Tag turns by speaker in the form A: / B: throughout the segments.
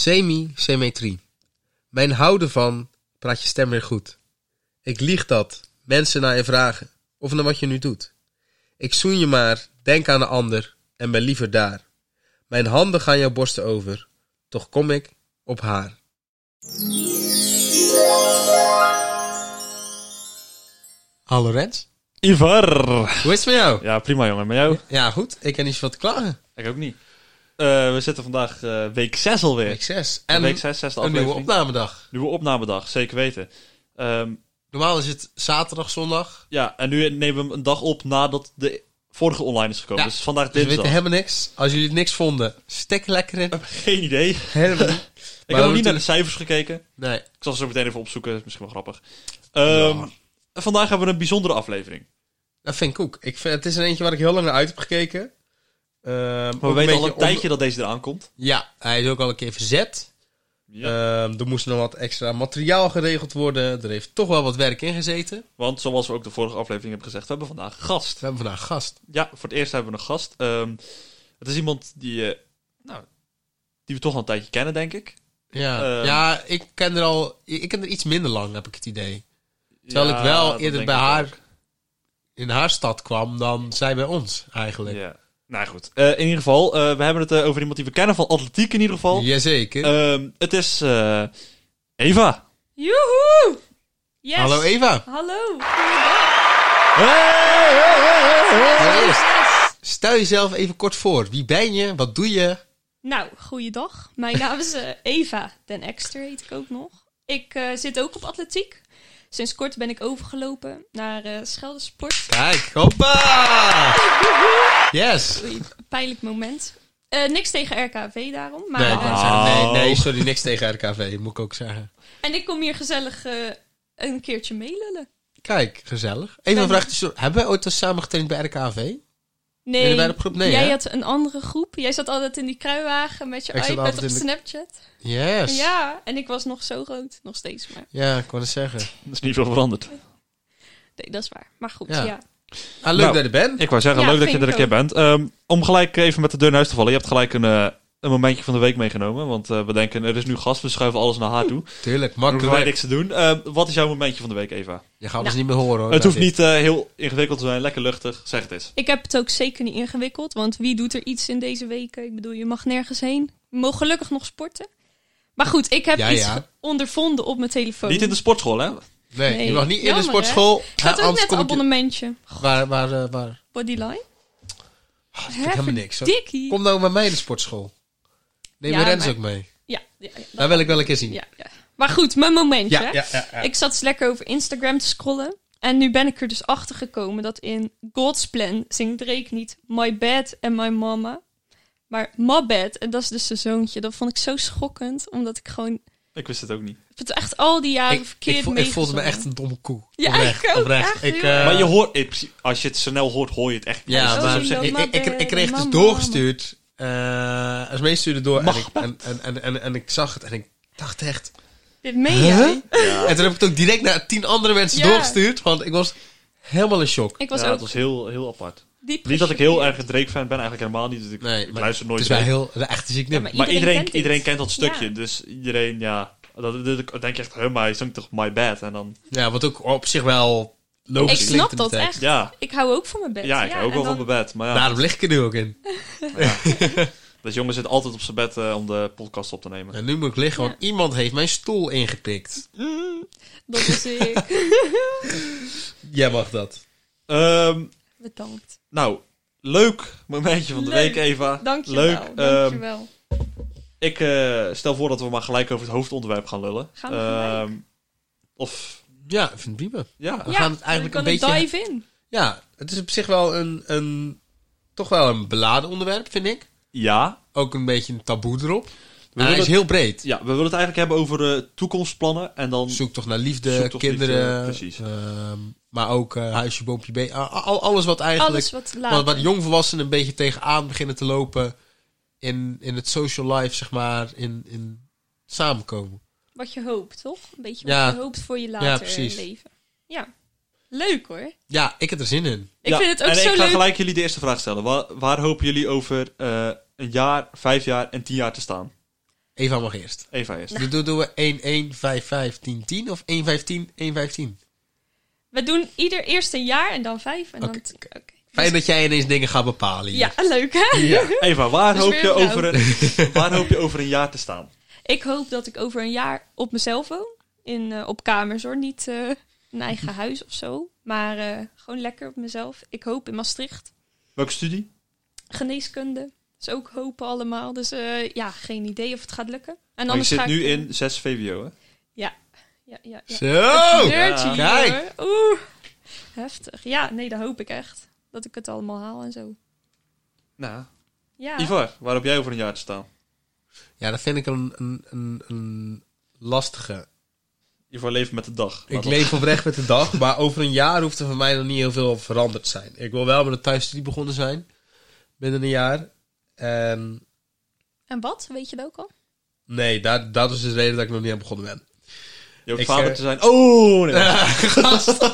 A: Semi-symmetrie. Mijn houden van praat je stem weer goed. Ik lieg dat mensen naar je vragen of naar wat je nu doet. Ik zoen je maar, denk aan de ander en ben liever daar. Mijn handen gaan jouw borsten over, toch kom ik op haar. Hallo Rens,
B: Ivar!
A: hoe is het met jou?
B: Ja, prima jongen. Met jou?
A: Ja goed, ik heb niet zoveel te klagen.
B: Ik ook niet. Eh, we zitten vandaag eh, week 6 alweer.
A: Week 6.
B: En
A: En
B: week 6, zesde
A: een
B: aflevering.
A: nieuwe opnamedag.
B: Nieuwe opnamedag, zeker weten. Ehm,
A: Normaal is het zaterdag, zondag.
B: ja, en nu nemen we hem een dag op nadat de vorige online is gekomen.
A: Ja.
B: Dus vandaag
A: Dus we weten
B: dinsdag.
A: helemaal niks. Als jullie niks vonden, stek lekker in.
B: Geen idee. Ik
A: Helemaal niet. we
B: heb ook niet naar de
A: moeten-
B: cijfers gekeken.
A: Nee.
B: Ik zal ze zo meteen even opzoeken. is misschien wel grappig. Ehm, Vandaag hebben we een bijzondere aflevering.
A: Dat vind ik ook. Ik vind, het is er eentje waar ik heel lang naar uit heb gekeken. Ehm, ook
B: Maar we weten
A: beetje
B: al een
A: om-
B: tijdje dat deze eraan komt.
A: Ja, hij is ook al een keer verzet.
B: Ja.
A: Ehm, er moest nog wat extra materiaal geregeld worden. Er heeft toch wel wat werk in gezeten.
B: Want zoals we ook de vorige aflevering hebben gezegd, we hebben vandaag een gast.
A: We hebben vandaag een gast.
B: Ja, voor het eerst hebben we een gast. Ehm, het is iemand die, eh, nou, die we toch al een tijdje kennen, denk ik.
A: Ja.
B: Ehm.
A: ja, ik ken er al... Ik ken er iets minder lang, heb ik het idee. Terwijl
B: Ja,
A: ik wel
B: dat
A: eerder
B: denk
A: bij
B: ik
A: haar
B: ook.
A: in haar stad kwam dan zij bij ons, eigenlijk.
B: Ja. Nou goed, Eh, in ieder geval, eh, we hebben het eh, over iemand die we kennen van atletiek in ieder geval.
A: Jazeker.
B: Ehm, het is eh, Eva.
C: Joehoe! Yes.
A: Hallo Eva.
C: Hallo. Goeiedag.
A: Allereerst,
C: Yes.
A: stel jezelf even kort voor. Wie ben je? Wat doe je?
C: Nou, goeiedag. Mijn naam is eh, Eva den Ekster, heet ik ook nog. Ik eh, zit ook op atletiek. Sinds kort ben ik overgelopen naar eh Schelde Sport.
A: Kijk, hoppa! Yes.
C: Oei, pijnlijk moment. Eh, niks tegen RKV daarom. Maar,
A: Nee, ik
C: eh,
A: wou zeggen, nee, nee, sorry, niks tegen RKV, moet ik ook zeggen.
C: en ik kom hier gezellig eh, een keertje meelullen.
A: Kijk, gezellig. Even een
C: Nee.
A: vraag tussendoor. Hebben wij ooit al samen getraind bij RKV?
C: Nee,
A: Jullie waren op groep nee,
C: jij
A: hè?
C: had een andere groep. Jij zat altijd in die kruiwagen met je
A: Ik zat
C: iPad
A: altijd
C: op
A: in de-
C: Snapchat.
A: Yes.
C: Ja, en ik was nog zo groot. Nog steeds, maar...
A: Ja, ik kon het zeggen.
B: Dat is niet veel veranderd.
C: Nee, dat is waar. Maar goed,
A: Ja.
C: ja.
A: Ah, leuk
B: Nou,
A: dat je er bent.
B: Ik wou zeggen,
C: Ja,
B: leuk dat je
C: vind
B: er een
C: ik
B: keer
C: ook.
B: bent. Ehm, om gelijk even met de deur in huis te vallen. Je hebt gelijk een, eh, een momentje van de week meegenomen. Want eh, we denken, er is nu gast, we schuiven alles naar haar toe.
A: Tuurlijk,
B: Dan hoeven wij
A: makkelijk.
B: niks te doen. Ehm, wat is jouw momentje van de week, Eva?
A: Je gaat ons niet meer horen hoor.
B: het
A: na
B: hoeft
A: dit.
B: niet eh, heel ingewikkeld te zijn. Lekker luchtig. Zeg het eens.
C: Ik heb het ook zeker niet ingewikkeld, want wie doet er iets in deze weken? Ik bedoel, je mag nergens heen. We mogen gelukkig nog sporten. Maar goed, ik heb
A: Ja,
C: iets
A: ja.
C: ge- ondervonden op mijn telefoon.
B: Niet in de sportschool, hè?
A: Nee, je
C: Nee.
A: mag niet in de
C: Jammer, hè?
A: sportschool.
C: Ik had
A: Ja,
C: ook
A: anders
C: net een
A: kom ik je-
C: abonnementje.
A: Waar, waar, eh, waar?
C: Bodyline.
A: Ah, ik vind helemaal niks hoor.
C: Dikkie.
A: Kom nou bij mij in de sportschool. Neem
C: Ja,
A: je Rens
C: maar-
A: ook mee.
C: Ja, ja, ja, dat-
A: Daar wil ik wel een keer zien.
C: ja, ja. Maar goed, mijn momentje.
A: Eh, ja, ja, ja.
C: Ik zat eens lekker over Instagram te scrollen. En nu ben ik er dus achter gekomen dat in God's Plan zingt Drake niet My Bad en My Mama. Maar My Bad, en dat is dus zijn zoontje. Dat vond ik zo schokkend, omdat ik gewoon...
B: Ik wist het ook niet.
C: Ik heb het echt al die jaren
A: Ik,
C: verkeerd
A: ik, voel- ik voelde me echt een domme koe.
C: Ja,
A: Oprecht,
C: ik ook,
A: oprecht.
C: echt,
A: Ik,
C: heel
A: eh,
C: erg.
B: maar je hoort, in principe- als je het snel hoort, hoor je het echt.
A: Ja,
C: Zo
A: maar
C: zien we
A: ik,
C: mama
A: ik, ik,
B: eh,
A: ik kreeg dus
C: mama.
A: doorgestuurd. eh als mensen stuurden door en
B: Mag
A: ik, en, en, en, en, en ik zag het en ik dacht echt...
C: Dit meen
A: Huh?
C: jij?
A: En toen heb ik het ook direct naar tien andere mensen
C: Ja.
A: doorgestuurd, want ik was helemaal in shock.
C: Ik was
B: Ja,
C: ook
B: het was heel, heel apart.
C: diep
B: Niet dat ik
C: gechoqueerd.
B: heel erg een Drake-fan ben, eigenlijk helemaal niet. Dus ik,
A: Nee,
B: ik
A: maar
B: luister nooit
A: het is wel
B: Drake.
A: heel... Echt een ziek nummer.
C: maar
B: Maar
C: Iedereen
B: iedereen, iedereen,
C: kent
B: kent,
C: dit.
B: dat stukje.
C: Ja.
B: Dus iedereen, ja... Dat, dat- dan denk je echt, huh, maar hij zingt toch My Bad? En dan,
A: Ja, wat ook op zich wel logisch
C: Ik
A: klinkt
C: snap
A: in de
C: dat
A: tekst.
C: echt.
B: ja.
C: Ik hou ook van mijn bed.
B: Ja, ik hou ook
C: en
B: wel
C: dan-
B: van mijn bed. Maar ja,
A: Daarom lig ik er nu ook in.
B: dat jongen zit altijd op zijn bed eh, om de podcast op te nemen.
A: En nu moet ik liggen, want iemand heeft mijn stoel ingepikt.
C: Mm, dat was ik.
A: Jij mag dat.
B: Ehm,
C: Bedankt.
B: nou, leuk momentje van de
C: Leuk.
B: week, Eva.
C: Dank je
B: Leuk.
C: wel.
B: ehm,
C: Dank je wel.
B: Ik eh, stel voor dat we maar gelijk over het hoofdonderwerp gaan lullen.
C: Gaan we
B: Ehm, Of,
A: Ja, ik vind het prima.
B: ja.
A: we gaan het eigenlijk
C: we
A: een
C: kunnen
A: beetje-
C: dive in.
A: Ja, het is op zich wel een, een... Toch wel een beladen onderwerp, vind ik.
B: Ja.
A: Ook een beetje een taboe erop.
B: We,
A: Maar hij is
B: willen het,
A: heel breed.
B: ja, we willen het eigenlijk hebben over eh, toekomstplannen. En dan,
A: Zoek toch naar liefde,
B: Zoek toch
A: kinderen.
B: liefde, precies.
A: ehm, maar ook eh, huisje, boompje, be- a- a- al- Alles wat eigenlijk...
C: Alles wat later.
A: wat, wat jongvolwassenen een beetje tegenaan beginnen te lopen. In, in het social life, zeg maar. In, in samenkomen.
C: wat je hoopt, toch? Een beetje
A: Ja.
C: wat je hoopt voor je later
A: precies.
C: leven. Ja, leuk hoor.
A: Ja, ik heb er zin in.
C: Ik
B: Ja,
C: vind het ook
B: en
C: zo
B: ik ga
C: leuk.
B: gelijk jullie de eerste vraag stellen. Waar, waar hopen jullie over eh, een jaar, vijf jaar en tien jaar te staan?
A: Eva mag eerst.
B: Eva
C: Nou.
B: eerst.
A: Dus doen- doen we 1, 1, 5, 5, 10, 10 of 1, 5, 10, 1, 5, 10?
C: We doen ieder eerst een jaar en dan vijf. En
A: Oké,
C: dan oké.
A: Fijn dat jij ineens dingen gaat bepalen hier.
C: Ja, leuk hè?
B: Eva, waar
C: Dus
B: hoop,
C: weer
B: je
C: een
B: over een, waar hoop je over een jaar te staan?
C: Ik hoop dat ik over een jaar op mezelf woon. In, eh, op kamers hoor, niet eh, een eigen huis of zo. Maar eh, gewoon lekker op mezelf. Ik hoop in Maastricht.
B: Welke studie?
C: Geneeskunde. Dus ook hopen allemaal. Dus eh, ja, geen idee of het gaat lukken. En
B: Maar je
C: anders ga
B: zit
C: ik-
B: nu in 6 VWO, hè?
C: Ja, ja, ja.
B: Oh!
A: Zo!
C: Dirty,
A: Kijk.
C: hoor. Oeh. Heftig. Ja, nee, dat hoop ik echt. Dat ik het allemaal haal en zo.
B: Nou.
C: Ja.
B: Ivar, waar hoop jij over een jaar te staan?
A: Ja, dat vind ik een, een, een, een lastige.
B: Ivar leeft met de dag.
A: Ik
B: Laat
A: leef oprecht met de dag, maar over een jaar hoeft er voor mij nog niet heel veel veranderd te zijn. Ik wil wel met een thuisstudie begonnen zijn, binnen een jaar. En
C: En wat? Weet je dat ook al?
A: nee, dat, dat is dus de reden dat ik nog niet aan begonnen ben.
B: op. Je ook
A: Ik,
B: vader
A: eh,
B: te zijn. Oh, nee.
A: Gast.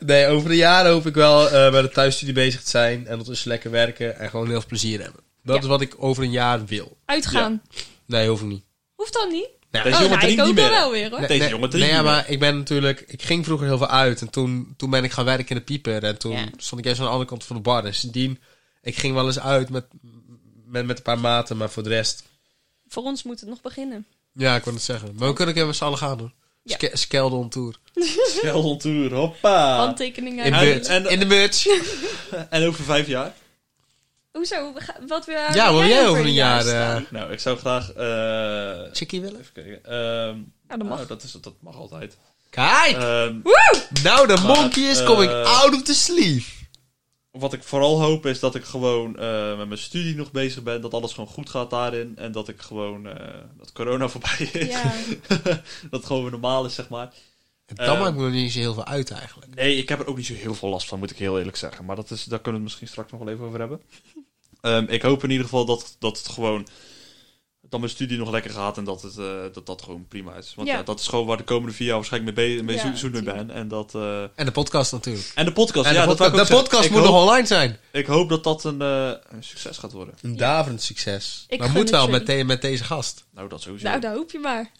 A: nee, over een jaar hoop ik wel eh met de thuisstudie bezig te zijn. En ondertussen lekker werken en gewoon heel veel plezier hebben. Dat
C: Ja.
A: is wat ik over een jaar wil.
C: Uitgaan.
A: Nee, hoef ik niet. Ah,
C: Hoeft dan niet?
A: Nee.
B: Deze jongen
C: nou, ik
B: drinkt
C: hoop
B: niet
C: dat
B: meer.
C: wel weer hoor.
B: Deze jongen drinkt
A: Nee, ja,
B: niet
A: maar ik ben natuurlijk... Ik ging vroeger heel veel uit. En toen, toen ben ik gaan werken in de pieper. En toen
C: Ja.
A: stond ik juist aan de andere kant van de bar. En sindsdien, ik ging wel eens uit met, met, met een paar maten. Maar voor de rest...
C: Voor ons moet het nog beginnen.
A: Ja, ik wil het zeggen. Maar we kunnen ook even met z'n allen gaan, hoor.
C: Ja.
A: Ske- Skeldon tour.
B: Sheldon Tour, hoppa.
C: Handtekeningen.
A: In,
B: Ja,
A: bur-
B: en-
A: in de merch.
B: En over vijf jaar?
C: Hoezo? We gaan- Wat we,
A: Ja, wil jij over een jaar...
C: staan?
A: eh
B: Nou, ik zou graag... eh,
A: chickie willen?
B: even kijken. Ehm,
C: Ja, dat mag.
B: oh, dat, is, dat mag altijd.
A: Kijk!
B: Ehm,
A: Nou, de
B: Maar,
A: monkey is coming
B: eh,
A: out of the sleeve.
B: wat ik vooral hoop is dat ik gewoon eh, met mijn studie nog bezig ben. Dat alles gewoon goed gaat daarin. En dat ik gewoon... eh, dat corona voorbij is.
C: Ja.
B: dat het gewoon weer normaal is, zeg maar.
A: En dan
B: eh,
A: maakt me nog niet eens heel veel uit eigenlijk.
B: Nee, ik heb er ook niet zo heel veel last van, moet ik heel eerlijk zeggen. Maar dat is, daar kunnen we het misschien straks nog wel even over hebben. Ehm, ik hoop in ieder geval dat, dat het gewoon... Dat mijn studie nog lekker gaat en dat het, eh, dat, dat gewoon prima is. Want
C: Ja.
B: ja. dat is gewoon waar de komende vier jaar waarschijnlijk mee, be- mee
C: Ja,
B: zoet- zoet mee
C: natuurlijk.
B: ben. En, dat, eh,
A: En de podcast natuurlijk.
B: en de podcast.
A: En
B: ja,
A: de,
B: dat
A: podca-
B: wou ik
A: de
B: ook zeggen.
A: podcast
B: ik
A: moet
B: hoop,
A: nog online zijn.
B: Ik hoop dat dat een, eh, een succes gaat worden.
A: Een daverend succes.
C: Ik
A: maar
C: gun
A: moet
C: het
A: wel
C: jullie.
A: met, de- met deze gast.
B: Nou, dat sowieso.
C: Nou, dat hoop je maar.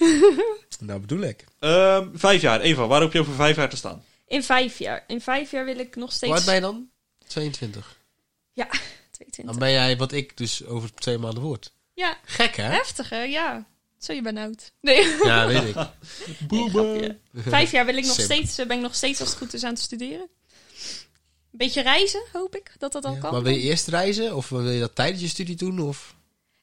A: Nou bedoel ik.
B: Ehm, vijf jaar. Eva, waar hoop je over vijf jaar te staan?
C: In vijf jaar. In vijf jaar wil ik nog
A: Hoe oud
C: steeds...
A: ben je dan? 22.
C: 22.
A: Dan ben jij wat ik dus over twee maanden word.
C: Ja,
A: Gek hè?
C: heftig hè? Ja. Zo, je bent oud. Nee,
A: Ja, weet ik.
C: nee, grapje. Vijf jaar wil ik nog
A: Sim.
C: steeds, eh, ben ik nog steeds als het goed is aan het studeren. Een beetje reizen, hoop ik, dat dat dan
A: Ja,
C: kan.
A: Maar wil je eerst reizen? Of wil je dat tijdens je studie doen? Of...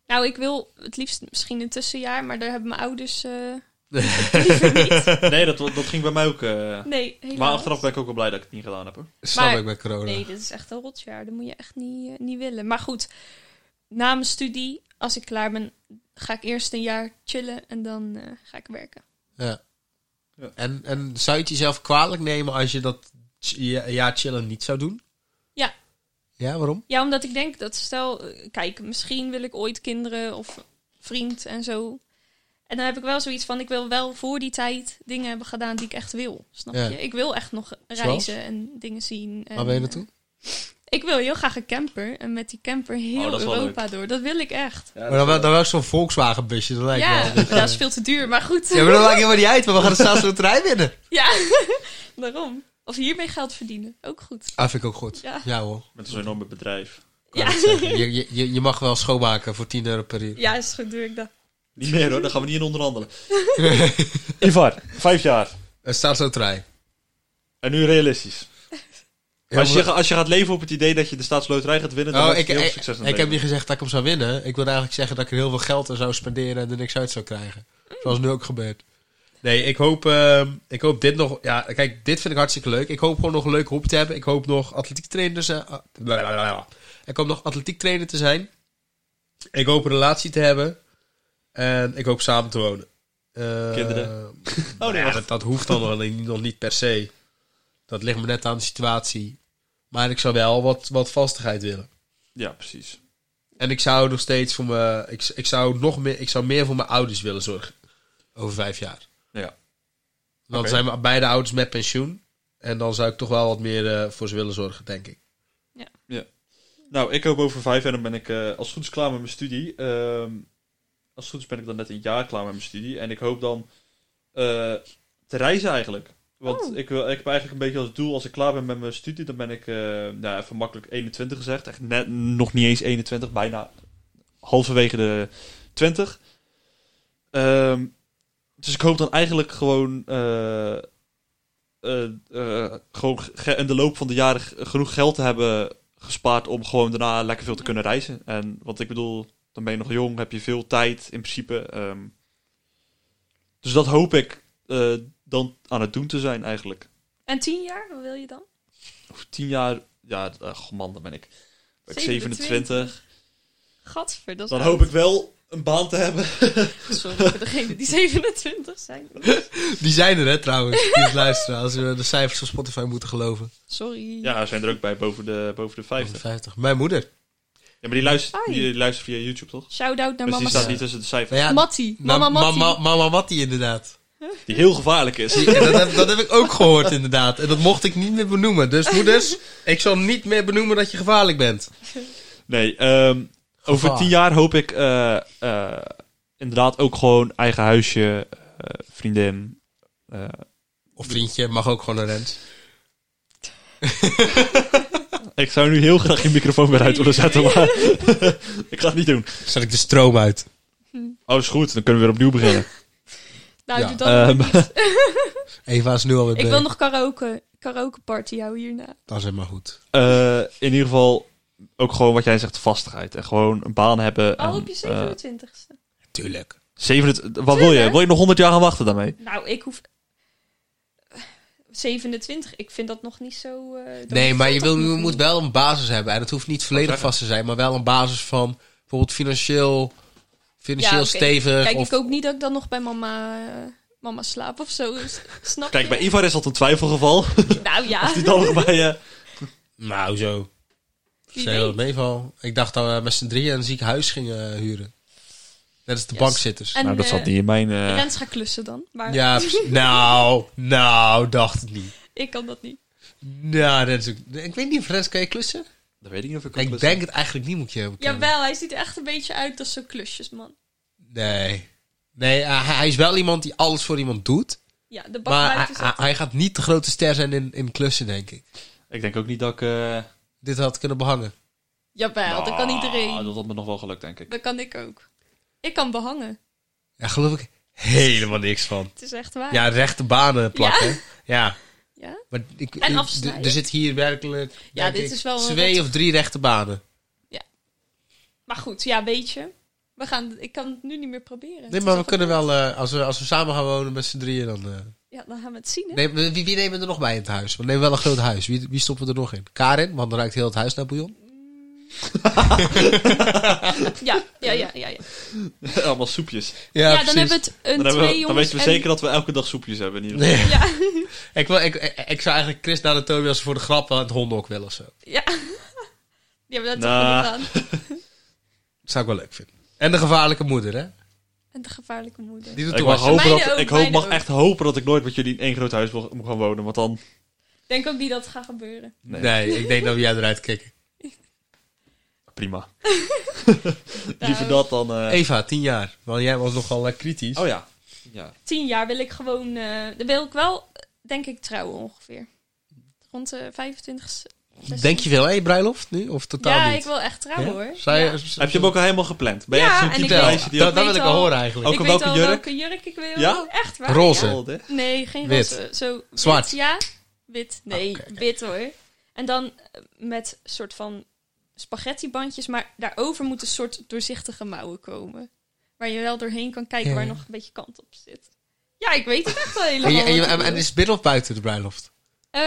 C: Nou, ik wil het liefst misschien een tussenjaar, maar daar hebben mijn ouders... eh, liever niet.
B: Nee, dat, dat ging bij mij ook... eh,
C: Nee, helaas.
B: maar achteraf ben ik ook wel blij dat ik het niet gedaan heb. Hoor.
A: Snap
C: Maar-
A: ik bij corona.
C: Nee, dit is echt een rotjaar. Dat moet je echt niet, eh, niet willen. Maar goed, na mijn studie, als ik klaar ben, ga ik eerst een jaar chillen en dan eh, ga ik werken.
A: Ja.
B: Ja.
A: En, en zou je het jezelf kwalijk nemen als je dat ch- ja, ja, chillen niet zou doen?
C: Ja.
A: Ja, waarom?
C: Ja, omdat ik denk dat stel, eh, kijk, misschien wil ik ooit kinderen of vriend en zo. En dan heb ik wel zoiets van, ik wil wel voor die tijd dingen hebben gedaan die ik echt wil. Snap
A: Ja.
C: je? Ik wil echt nog reizen en dingen zien. En,
A: Waar ben je
C: eh,
A: naartoe?
C: Ik wil heel graag een camper en met die camper
B: Oh,
C: heel
B: dat is wel
C: Europa door. Dat wil ik echt.
B: Ja,
A: Maar dan wel, dan wel zo'n Volkswagen busje, dat lijkt
C: Ja,
A: me wel.
C: maar dat is veel te duur, maar goed.
A: Ja, maar dat maakt helemaal niet uit, want we gaan de staatsloterij winnen.
C: Ja, daarom. Of hiermee geld verdienen. Ook goed.
A: Ah, vind ik ook goed. Ja,
C: Ja.
A: hoor.
B: Met zo'n enorme bedrijf.
A: Ik wou
C: Ja.
A: net zeggen, Je, je- je, je mag wel schoonmaken voor 10 euro per uur.
C: Ja, is goed, doe ik dat.
B: Niet meer hoor, daar gaan we niet in onderhandelen. Ivar, vijf jaar.
A: Een staatsloterij.
B: En nu realistisch.
A: Ja,
B: als, je,
A: maar-
B: ga- als je gaat leven op het idee dat je de staatsloterij gaat winnen, dan
A: Oh,
B: heb
A: ik,
B: je heel
A: ik-
B: veel succes in
A: ik
B: het
A: heb niet
B: leven.
A: gezegd dat ik hem zou winnen. Ik wil eigenlijk zeggen dat ik er heel veel geld aan zou spenderen en er niks uit zou krijgen. Zoals nu ook gebeurt. Nee, ik hoop, ehm, ik hoop dit nog... Ja, kijk, dit vind ik hartstikke leuk. Ik hoop gewoon nog een leuk hobby te hebben. Ik hoop nog atletiek trainer te zijn. ah, blablabla. Ik hoop nog atletiek trainer te zijn. Ik hoop een relatie te hebben. En ik hoop samen te wonen. Eh,
B: Kinderen? Oh, nee,
A: ja,
B: wacht.
A: dat, dat hoeft dan nog niet, nog niet per se. Dat ligt me net aan de situatie. Maar ik zou wel wat, wat vastigheid willen.
B: Ja, precies.
A: En ik zou nog steeds voor mijn. Ik, ik zou nog meer. Ik zou meer voor mijn ouders willen zorgen. Over vijf jaar.
B: Ja.
A: Dan
B: Oké.
A: zijn we beide ouders met pensioen. En dan zou ik toch wel wat meer eh, voor ze willen zorgen, denk ik.
B: Nou, ik hoop over vijf jaar, dan ben ik eh, als het goed is klaar met mijn studie. Ehm, als het goed is ben ik dan net een jaar klaar met mijn studie. En ik hoop dan eh, te reizen eigenlijk. Want
C: Oh.
B: ik, wil, ik heb eigenlijk een beetje als doel, als ik klaar ben met mijn studie, dan ben ik, eh, nou even makkelijk 21 gezegd. Echt net, nog niet eens 21, bijna halverwege de 20. Ehm, dus ik hoop dan eigenlijk gewoon, eh, eh, eh, gewoon ge- in de loop van de jaren g- genoeg geld te hebben gespaard om gewoon daarna lekker veel te kunnen reizen. En wat ik bedoel, dan ben je nog jong, heb je veel tijd in principe. ehm. dus dat hoop ik eh, dan aan het doen te zijn eigenlijk.
C: En tien jaar, wat wil je dan?
B: Over tien jaar, ja, eh, goh, man, dan ben ik, ben ik
C: 27.
B: 27.
C: Gadver, dat is
B: Dan
C: oud.
B: hoop ik wel een baan te hebben.
C: Sorry voor degene die 27 zijn.
A: Die zijn er, hè, trouwens. Die het luisteren, als we de cijfers van Spotify moeten geloven.
C: Sorry.
B: Ja, er zijn er ook bij boven de, boven de 50.
A: 50. Mijn moeder.
B: Ja, maar die luistert,
C: Fijn.
B: die luistert via YouTube, toch?
C: Shout-out naar
B: Dus die
C: mama
B: staat
A: Sam.
B: niet tussen de cijfers.
A: Nou ja,
C: Mattie.
A: ma-
C: Mama Mattie.
A: ma- mama Mattie, inderdaad.
B: Die heel gevaarlijk is.
A: Die- en dat, heb, dat heb ik ook gehoord, inderdaad. En dat mocht ik niet meer benoemen. Dus moeders, ik zal niet meer benoemen dat je gevaarlijk bent.
B: Nee, ehm, over
A: Gevaar.
B: tien jaar hoop ik eh, eh, inderdaad ook gewoon eigen huisje, eh, vriendin. eh,
A: Of vriendje, mag ook gewoon een rent.
B: ik zou nu heel graag je microfoon weer uit willen zetten, maar ik ga het niet doen.
A: Zet ik de stroom uit.
B: Oh, is goed, dan kunnen we weer opnieuw beginnen.
C: nou,
A: Ja.
C: doe dat
B: Ehm,
C: maar niet.
A: Eva is nu alweer
C: Ik
A: weer.
C: wil nog karaoke, karaoke party houden hierna.
A: Dat is helemaal goed.
B: eh, in ieder geval ook gewoon wat jij zegt, vastigheid. En gewoon een baan hebben. en,
C: Al op je
B: eh,
C: 27ste.
A: Tuurlijk.
B: 27 wat wil je? Wil je nog 100 jaar gaan wachten daarmee?
C: Nou, ik hoef... 27, ik vind dat nog niet zo... eh, dat
A: Nee,
C: moet
A: maar je,
C: 40
A: wil, je
C: moeten
A: moet wel een basis hebben. En het hoeft niet volledig
B: zeggen.
A: vast te zijn, maar wel een basis van bijvoorbeeld financieel, financieel
C: Ja, oké.
A: stevig.
C: Kijk,
A: eh, of,
C: ik hoop niet dat ik dan nog bij mama, eh, mama slaap of zo. S- Snap
B: Kijk,
C: je?
B: bij Ivar is dat een twijfelgeval.
C: Nou ja,
B: Die dan nog bij eh, je.
A: Nou, zo.
C: Wie
A: Zei dat
C: weet.
A: meeval. Ik dacht dat we met z'n drieën een ziek huis gingen eh, huren. Net als de
C: Yes.
A: bankzitters.
C: En
B: nou, dat
C: eh,
B: zat niet in mijn... eh,
C: Rens gaat klussen dan. Maar
A: Ja, precies. nou, nou, dacht het niet.
C: ik kan dat niet.
A: Nou, dat is ook- Ik weet niet of Rens kan je klussen?
B: dat weet ik niet of ik...
A: Ik
B: het-
A: denk het eigenlijk niet, moet ik je hebben.
C: Jawel, hij ziet er echt een beetje uit als zo'n klusjesman.
A: Nee. Nee, eh, hij hij is wel iemand die alles voor iemand doet.
C: Ja, de
A: Maar
C: bakruimte
A: hij, hij-
C: zat.
A: hij gaat niet de grote ster zijn in, in klussen, denk ik.
B: Ik denk ook niet dat ik... eh,
A: Dit had kunnen behangen.
C: Jawel, dat kan
B: Ah,
C: iedereen.
B: Dat had me nog wel gelukt, denk ik.
C: Dat kan ik ook. Ik kan behangen.
A: Ja, geloof ik helemaal niks van.
C: Het is echt waar.
A: Ja, rechte banen plakken. Ja.
C: Ja?
A: Maar ik,
C: En
A: ik-
C: afsnijden.
A: d- Er zit hier werkelijk
C: Ja,
A: denk
C: dit
A: ik,
C: is wel een
A: twee
C: rot-
A: of drie rechte banen.
C: Maar goed, ja, weet je. We gaan, ik kan het nu niet meer proberen. Het
A: Nee,
C: is
A: maar we
C: al
A: kunnen
C: gebeurd.
A: wel, eh, als, we, als we samen gaan wonen met z'n drieën, dan... eh,
C: Ja, dan gaan we het zien, hè?
A: neem- wie, wie nemen we er nog bij in het huis? We nemen wel een groot huis. Wie, wie stoppen we er nog in? Karin, want dan ruikt heel het huis naar bouillon.
C: Ja, ja, ja, ja. ja.
B: Allemaal soepjes.
C: Ja, dan hebben we het een
B: Dan, hebben
C: twee
B: we, dan
C: jongens
B: weten we
C: en-
B: zeker dat we elke dag soepjes hebben in ieder geval.
A: Nee.
C: Ja,
A: Ik, wil, ik, ik, ik zou eigenlijk Chris naar de Tobias voor de grap aan het hondenhok willen of zo.
C: ja. Die hebben dat
B: Nou.
C: toch wel gedaan.
A: Dat zou ik wel leuk vinden. En de gevaarlijke moeder, hè?
C: En de gevaarlijke moeder.
A: Die doet
B: Ik
A: toe
B: mag,
A: was.
B: hopen
C: Mijne
B: dat,
C: ook,
B: ik hoop,
C: mijne
B: mag
C: ook.
B: echt hopen dat ik nooit met jullie in één groot huis wil, moet gaan wonen. Want dan...
C: Ik denk ook niet dat het gaat gebeuren.
B: Nee,
A: Nee, ik denk dat we jij eruit kicken.
B: prima.
C: Nou.
B: Liever dat dan... eh,
A: Eva, tien jaar. Want jij was nogal eh, kritisch.
B: Oh ja. ja.
C: Tien jaar wil ik gewoon... eh, dan wil ik wel, denk ik, trouwen ongeveer. Rond de 25
A: Denk je veel, hé, bruiloft nu? Of totaal
C: Ja,
A: niet?
C: ik wil echt trouwen,
A: Ja?
C: hoor.
A: Zou je-
C: Ja.
A: z-
B: Heb je hem ook al helemaal gepland? Ben je
C: Ja,
B: echt zo'n
C: en
B: type
C: ik
A: Vertel.
C: weet-
B: meisje die ook... Oh,
A: dat, dat wil
C: ik
A: ik
C: weet
A: wel
C: al-
A: horen eigenlijk.
B: Ook
C: ik
B: al
C: weet
B: welke
C: al
B: jurk?
C: welke jurk ik wil.
B: Ja?
C: Echt waar,
A: Roze.
C: ja.
B: Oh, hè?
C: Nee, geen
A: Wit.
C: roze. Zo
A: Zwart.
C: Wit, ja. Wit, nee,
A: Oké, oké.
C: wit hoor. En dan eh, met soort van spaghettibandjes, maar daarover moet een soort doorzichtige mouwen komen. Waar je wel doorheen kan kijken
A: Ja,
C: waar
A: ja.
C: nog een beetje kant op zit. Ja, ik weet het echt al helemaal.
A: En, je- en, je-
C: wat ik
A: en- en
C: wil.
A: is het binnen of buiten de bruiloft?
C: Eh,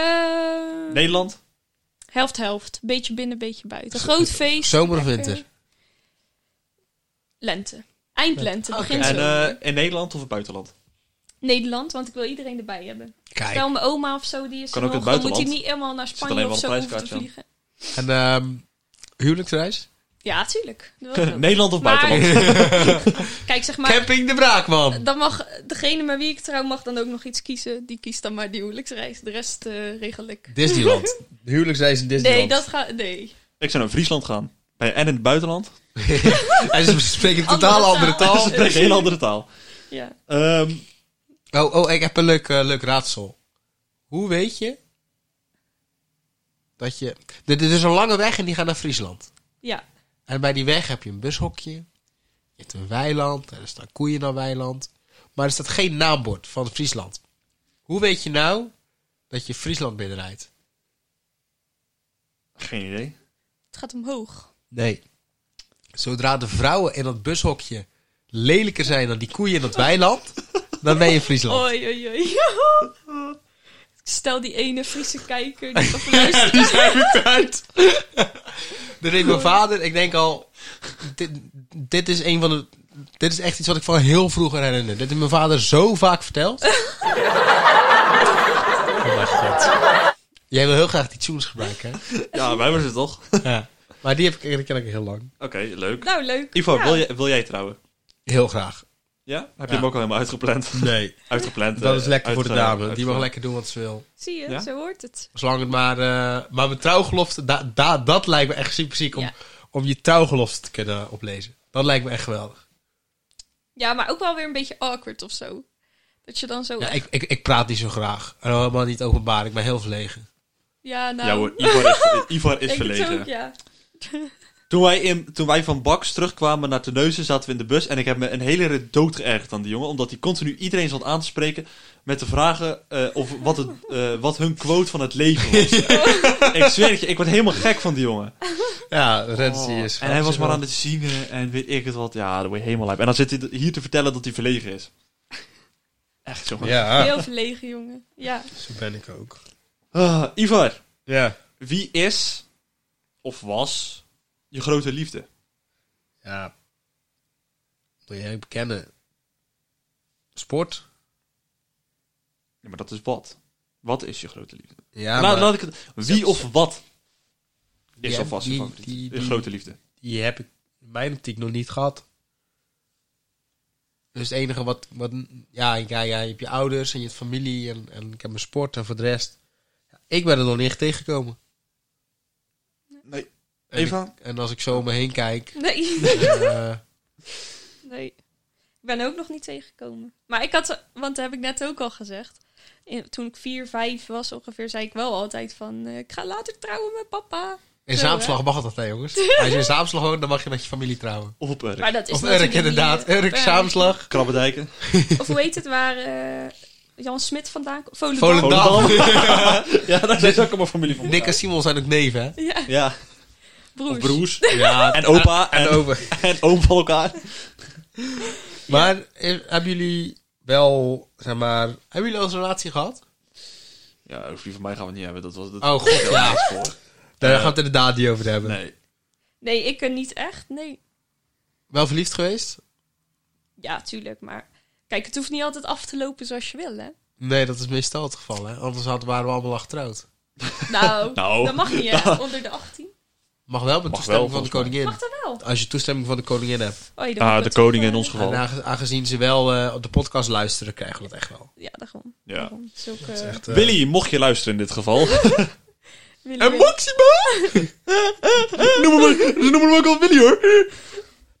B: Nederland?
C: Helft, helft. Beetje binnen, beetje buiten. Groot feest.
A: Zomer of
C: lekker.
A: winter?
C: Lente. Eindlente,
A: Oké.
C: begin
B: En
C: zomer.
B: eh, in Nederland of het buitenland?
C: Nederland, want ik wil iedereen erbij hebben.
A: Kijk.
C: Stel mijn oma of zo, die is
B: Kan
C: er
B: ook
C: nog,
B: in het
C: dan moet hij
B: buitenland.
C: niet helemaal naar
B: alleen
C: Spanje
B: wel
C: of
B: een
C: zo hoeven te
B: prijskaartje
A: En
C: vliegen.
A: ehm huwelijksreis?
C: Ja, tuurlijk. Dat wil ik ook.
B: Nederland of
C: Maar-
B: buitenland?
C: Kijk, zeg maar,
A: Camping de Braakman.
C: dan mag degene met wie ik trouw mag dan ook nog iets kiezen. Die kiest dan maar die huwelijksreis. De rest eh regel ik.
A: Disneyland. De huwelijksreis in Disneyland.
C: Nee, dat gaat... Nee.
B: Ik zou naar Friesland gaan. Nee, en in het
C: Oh.
B: buitenland.
A: en ze spreken een
C: Andere
A: totaal
C: taal.
A: andere
B: Dat
A: taal.
B: is een hele andere taal.
C: Ja.
B: Ehm,
A: Oh, oh, ik heb een leuk, eh, leuk raadsel. Hoe weet je dat je... Dit dit is een lange weg en die gaat naar Friesland.
C: ja.
A: En bij die weg heb je een bushokje. Je hebt een weiland. En er staan koeien naar weiland. Maar er staat geen naambord van Friesland. Hoe weet je nou dat je Friesland binnenrijdt?
B: geen idee.
C: Het gaat omhoog.
A: Nee. Zodra de vrouwen in dat bushokje lelijker zijn dan die koeien in dat weiland, dan ben je in
B: Oh.
A: Friesland.
C: Oei, oei, oei. Ik Stel die ene Friese kijker die of luistert.
A: Die zijn het uit. Dus ik, mijn vader, ik denk al, dit, dit is een van de, dit is echt iets wat ik van heel vroeger herinner. Dit heeft mijn vader zo vaak verteld. Oh mijn god. Jij wil heel graag die tunes gebruiken, hè?
B: Ja, wij hebben ze toch?
A: Ja. Maar die heb ik, die ken ik heel lang.
B: Oké, leuk.
C: Nou, leuk.
B: Ivo,
C: Ja.
B: wil, jij, wil jij trouwen?
A: Heel graag.
B: Ja? Heb je
A: Ja.
B: hem ook al helemaal uitgepland?
A: Nee.
B: uitgepland.
A: Dat
B: eh,
A: is lekker voor de
B: uitge-
A: dame. Die mag
B: uitge-
A: lekker doen wat ze wil.
C: Zie je,
B: Ja?
C: zo hoort het.
A: Zolang het maar... eh, maar mijn trouwgelofte, da, da- dat lijkt me echt super ziek. Om,
C: Ja.
A: om je trouwgelofte te kunnen oplezen. Dat lijkt me echt geweldig.
C: Ja, maar ook wel weer een beetje awkward of zo. Dat je dan zo...
A: Ja, ik, ik, ik praat niet zo graag. En ook helemaal niet openbaar. Ik ben heel verlegen.
C: Ja, nou...
B: Ja hoor, Ivar is, Ivar is
C: ik denk
B: verlegen.
C: het ook, ja.
B: Toen wij, in, toen wij van Bax terugkwamen naar Terneuzen, zaten we in de bus. En ik heb me een hele rit dood geërgerd aan die jongen. Omdat hij continu iedereen zat aan te spreken met de vragen eh, of wat, het, eh, wat hun quote van het leven was. ik zweer het je, ik word helemaal gek van die jongen.
A: Ja, Renzi
B: Oh,
A: is...
B: en hij was maar aan het zingen en weet ik het wat. Ja, daar word je helemaal lijp. En dan zit hij hier te vertellen dat hij verlegen is. Echt, jongen.
A: Ja,
C: Heel verlegen, jongen. Ja.
A: zo ben ik ook.
B: Ah, Ivar,
A: Ja.
B: wie is of was je grote liefde?
A: Ja. Moet je bekennen. Sport?
B: Ja, maar dat is wat. Wat is je grote liefde?
A: Ja,
B: laat,
A: maar
B: laat ik het, wie of wat is
A: Ja,
B: alvast je
A: die-
B: favoriet?
A: die-
B: Je
A: die-
B: grote liefde.
A: die heb ik in mijn optiek nog niet gehad. Dus het enige wat... wat ja, ja, ja, je hebt je ouders en je hebt familie en, en ik heb mijn sport en voor de rest... Ja, ik ben er nog niet echt tegengekomen.
B: Nee.
A: En
B: Eva?
A: ik- en als ik zo om me heen kijk...
C: Nee.
A: eh,
C: Nee. Ik ben ook nog niet tegengekomen. Maar ik had, want dat heb ik net ook al gezegd. In- toen ik vier, vijf was ongeveer, zei ik wel altijd van... eh, ik ga later trouwen met papa.
A: In
C: Zo,
A: Zaamslag mag dat, hè, jongens? Als je in Zaamslag woont, dan mag je met je familie trouwen.
B: Of op eh, Urk.
C: Maar dat is
A: of
C: natuurlijk
A: Urk, inderdaad.
C: niet, eh,
A: Urk,
C: per-
A: Zaamslag.
B: Krabbedijken.
C: Of hoe heet het, waar eh, Jan Smit vandaan komt? Volendam.
A: Volendam.
B: ja, dat is ook allemaal familie van
A: Nick en Simon zijn ook neven, hè?
C: Ja,
B: Ja,
C: broers.
B: of broers.
A: Ja,
B: En opa en,
A: en
B: en,
A: over.
B: oom van elkaar.
A: Maar eh, hebben jullie wel, zeg maar... Hebben jullie al eens een relatie gehad?
B: Ja, over die van mij gaan we het niet hebben. Dat was dat
A: Oh, god,
B: dat
A: ja.
B: was voor.
A: Daar
B: Eh,
A: gaan we het inderdaad niet over hebben.
B: Nee.
C: Nee, ik eh, niet echt. Nee.
A: Wel verliefd geweest?
C: Ja, tuurlijk, maar... Kijk, het hoeft niet altijd af te lopen zoals je wil, hè?
A: Nee, dat is meestal het geval, hè? Anders hadden, waren we allemaal al getrouwd.
C: Nou,
B: Nou.
C: dat mag niet, hè? Onder de 18.
A: Mag wel met
B: Mag
A: toestemming
B: wel,
A: van de
B: volgens
A: koningin.
C: Mag dat wel?
A: Als je toestemming van de koningin hebt.
C: Oh,
B: Ah, de koning in ons geval.
A: En aange- aangezien ze wel eh, op de podcast luisteren, krijgen we dat echt wel.
C: Ja, daarom.
B: Ja.
C: Daarom. Zulke,
A: Dat is echt, eh,
B: Willy, mocht je luisteren in dit geval.
C: Willy
A: En
C: Willy.
A: Maxima! noem hem, ze noemen hem ook al Willy hoor.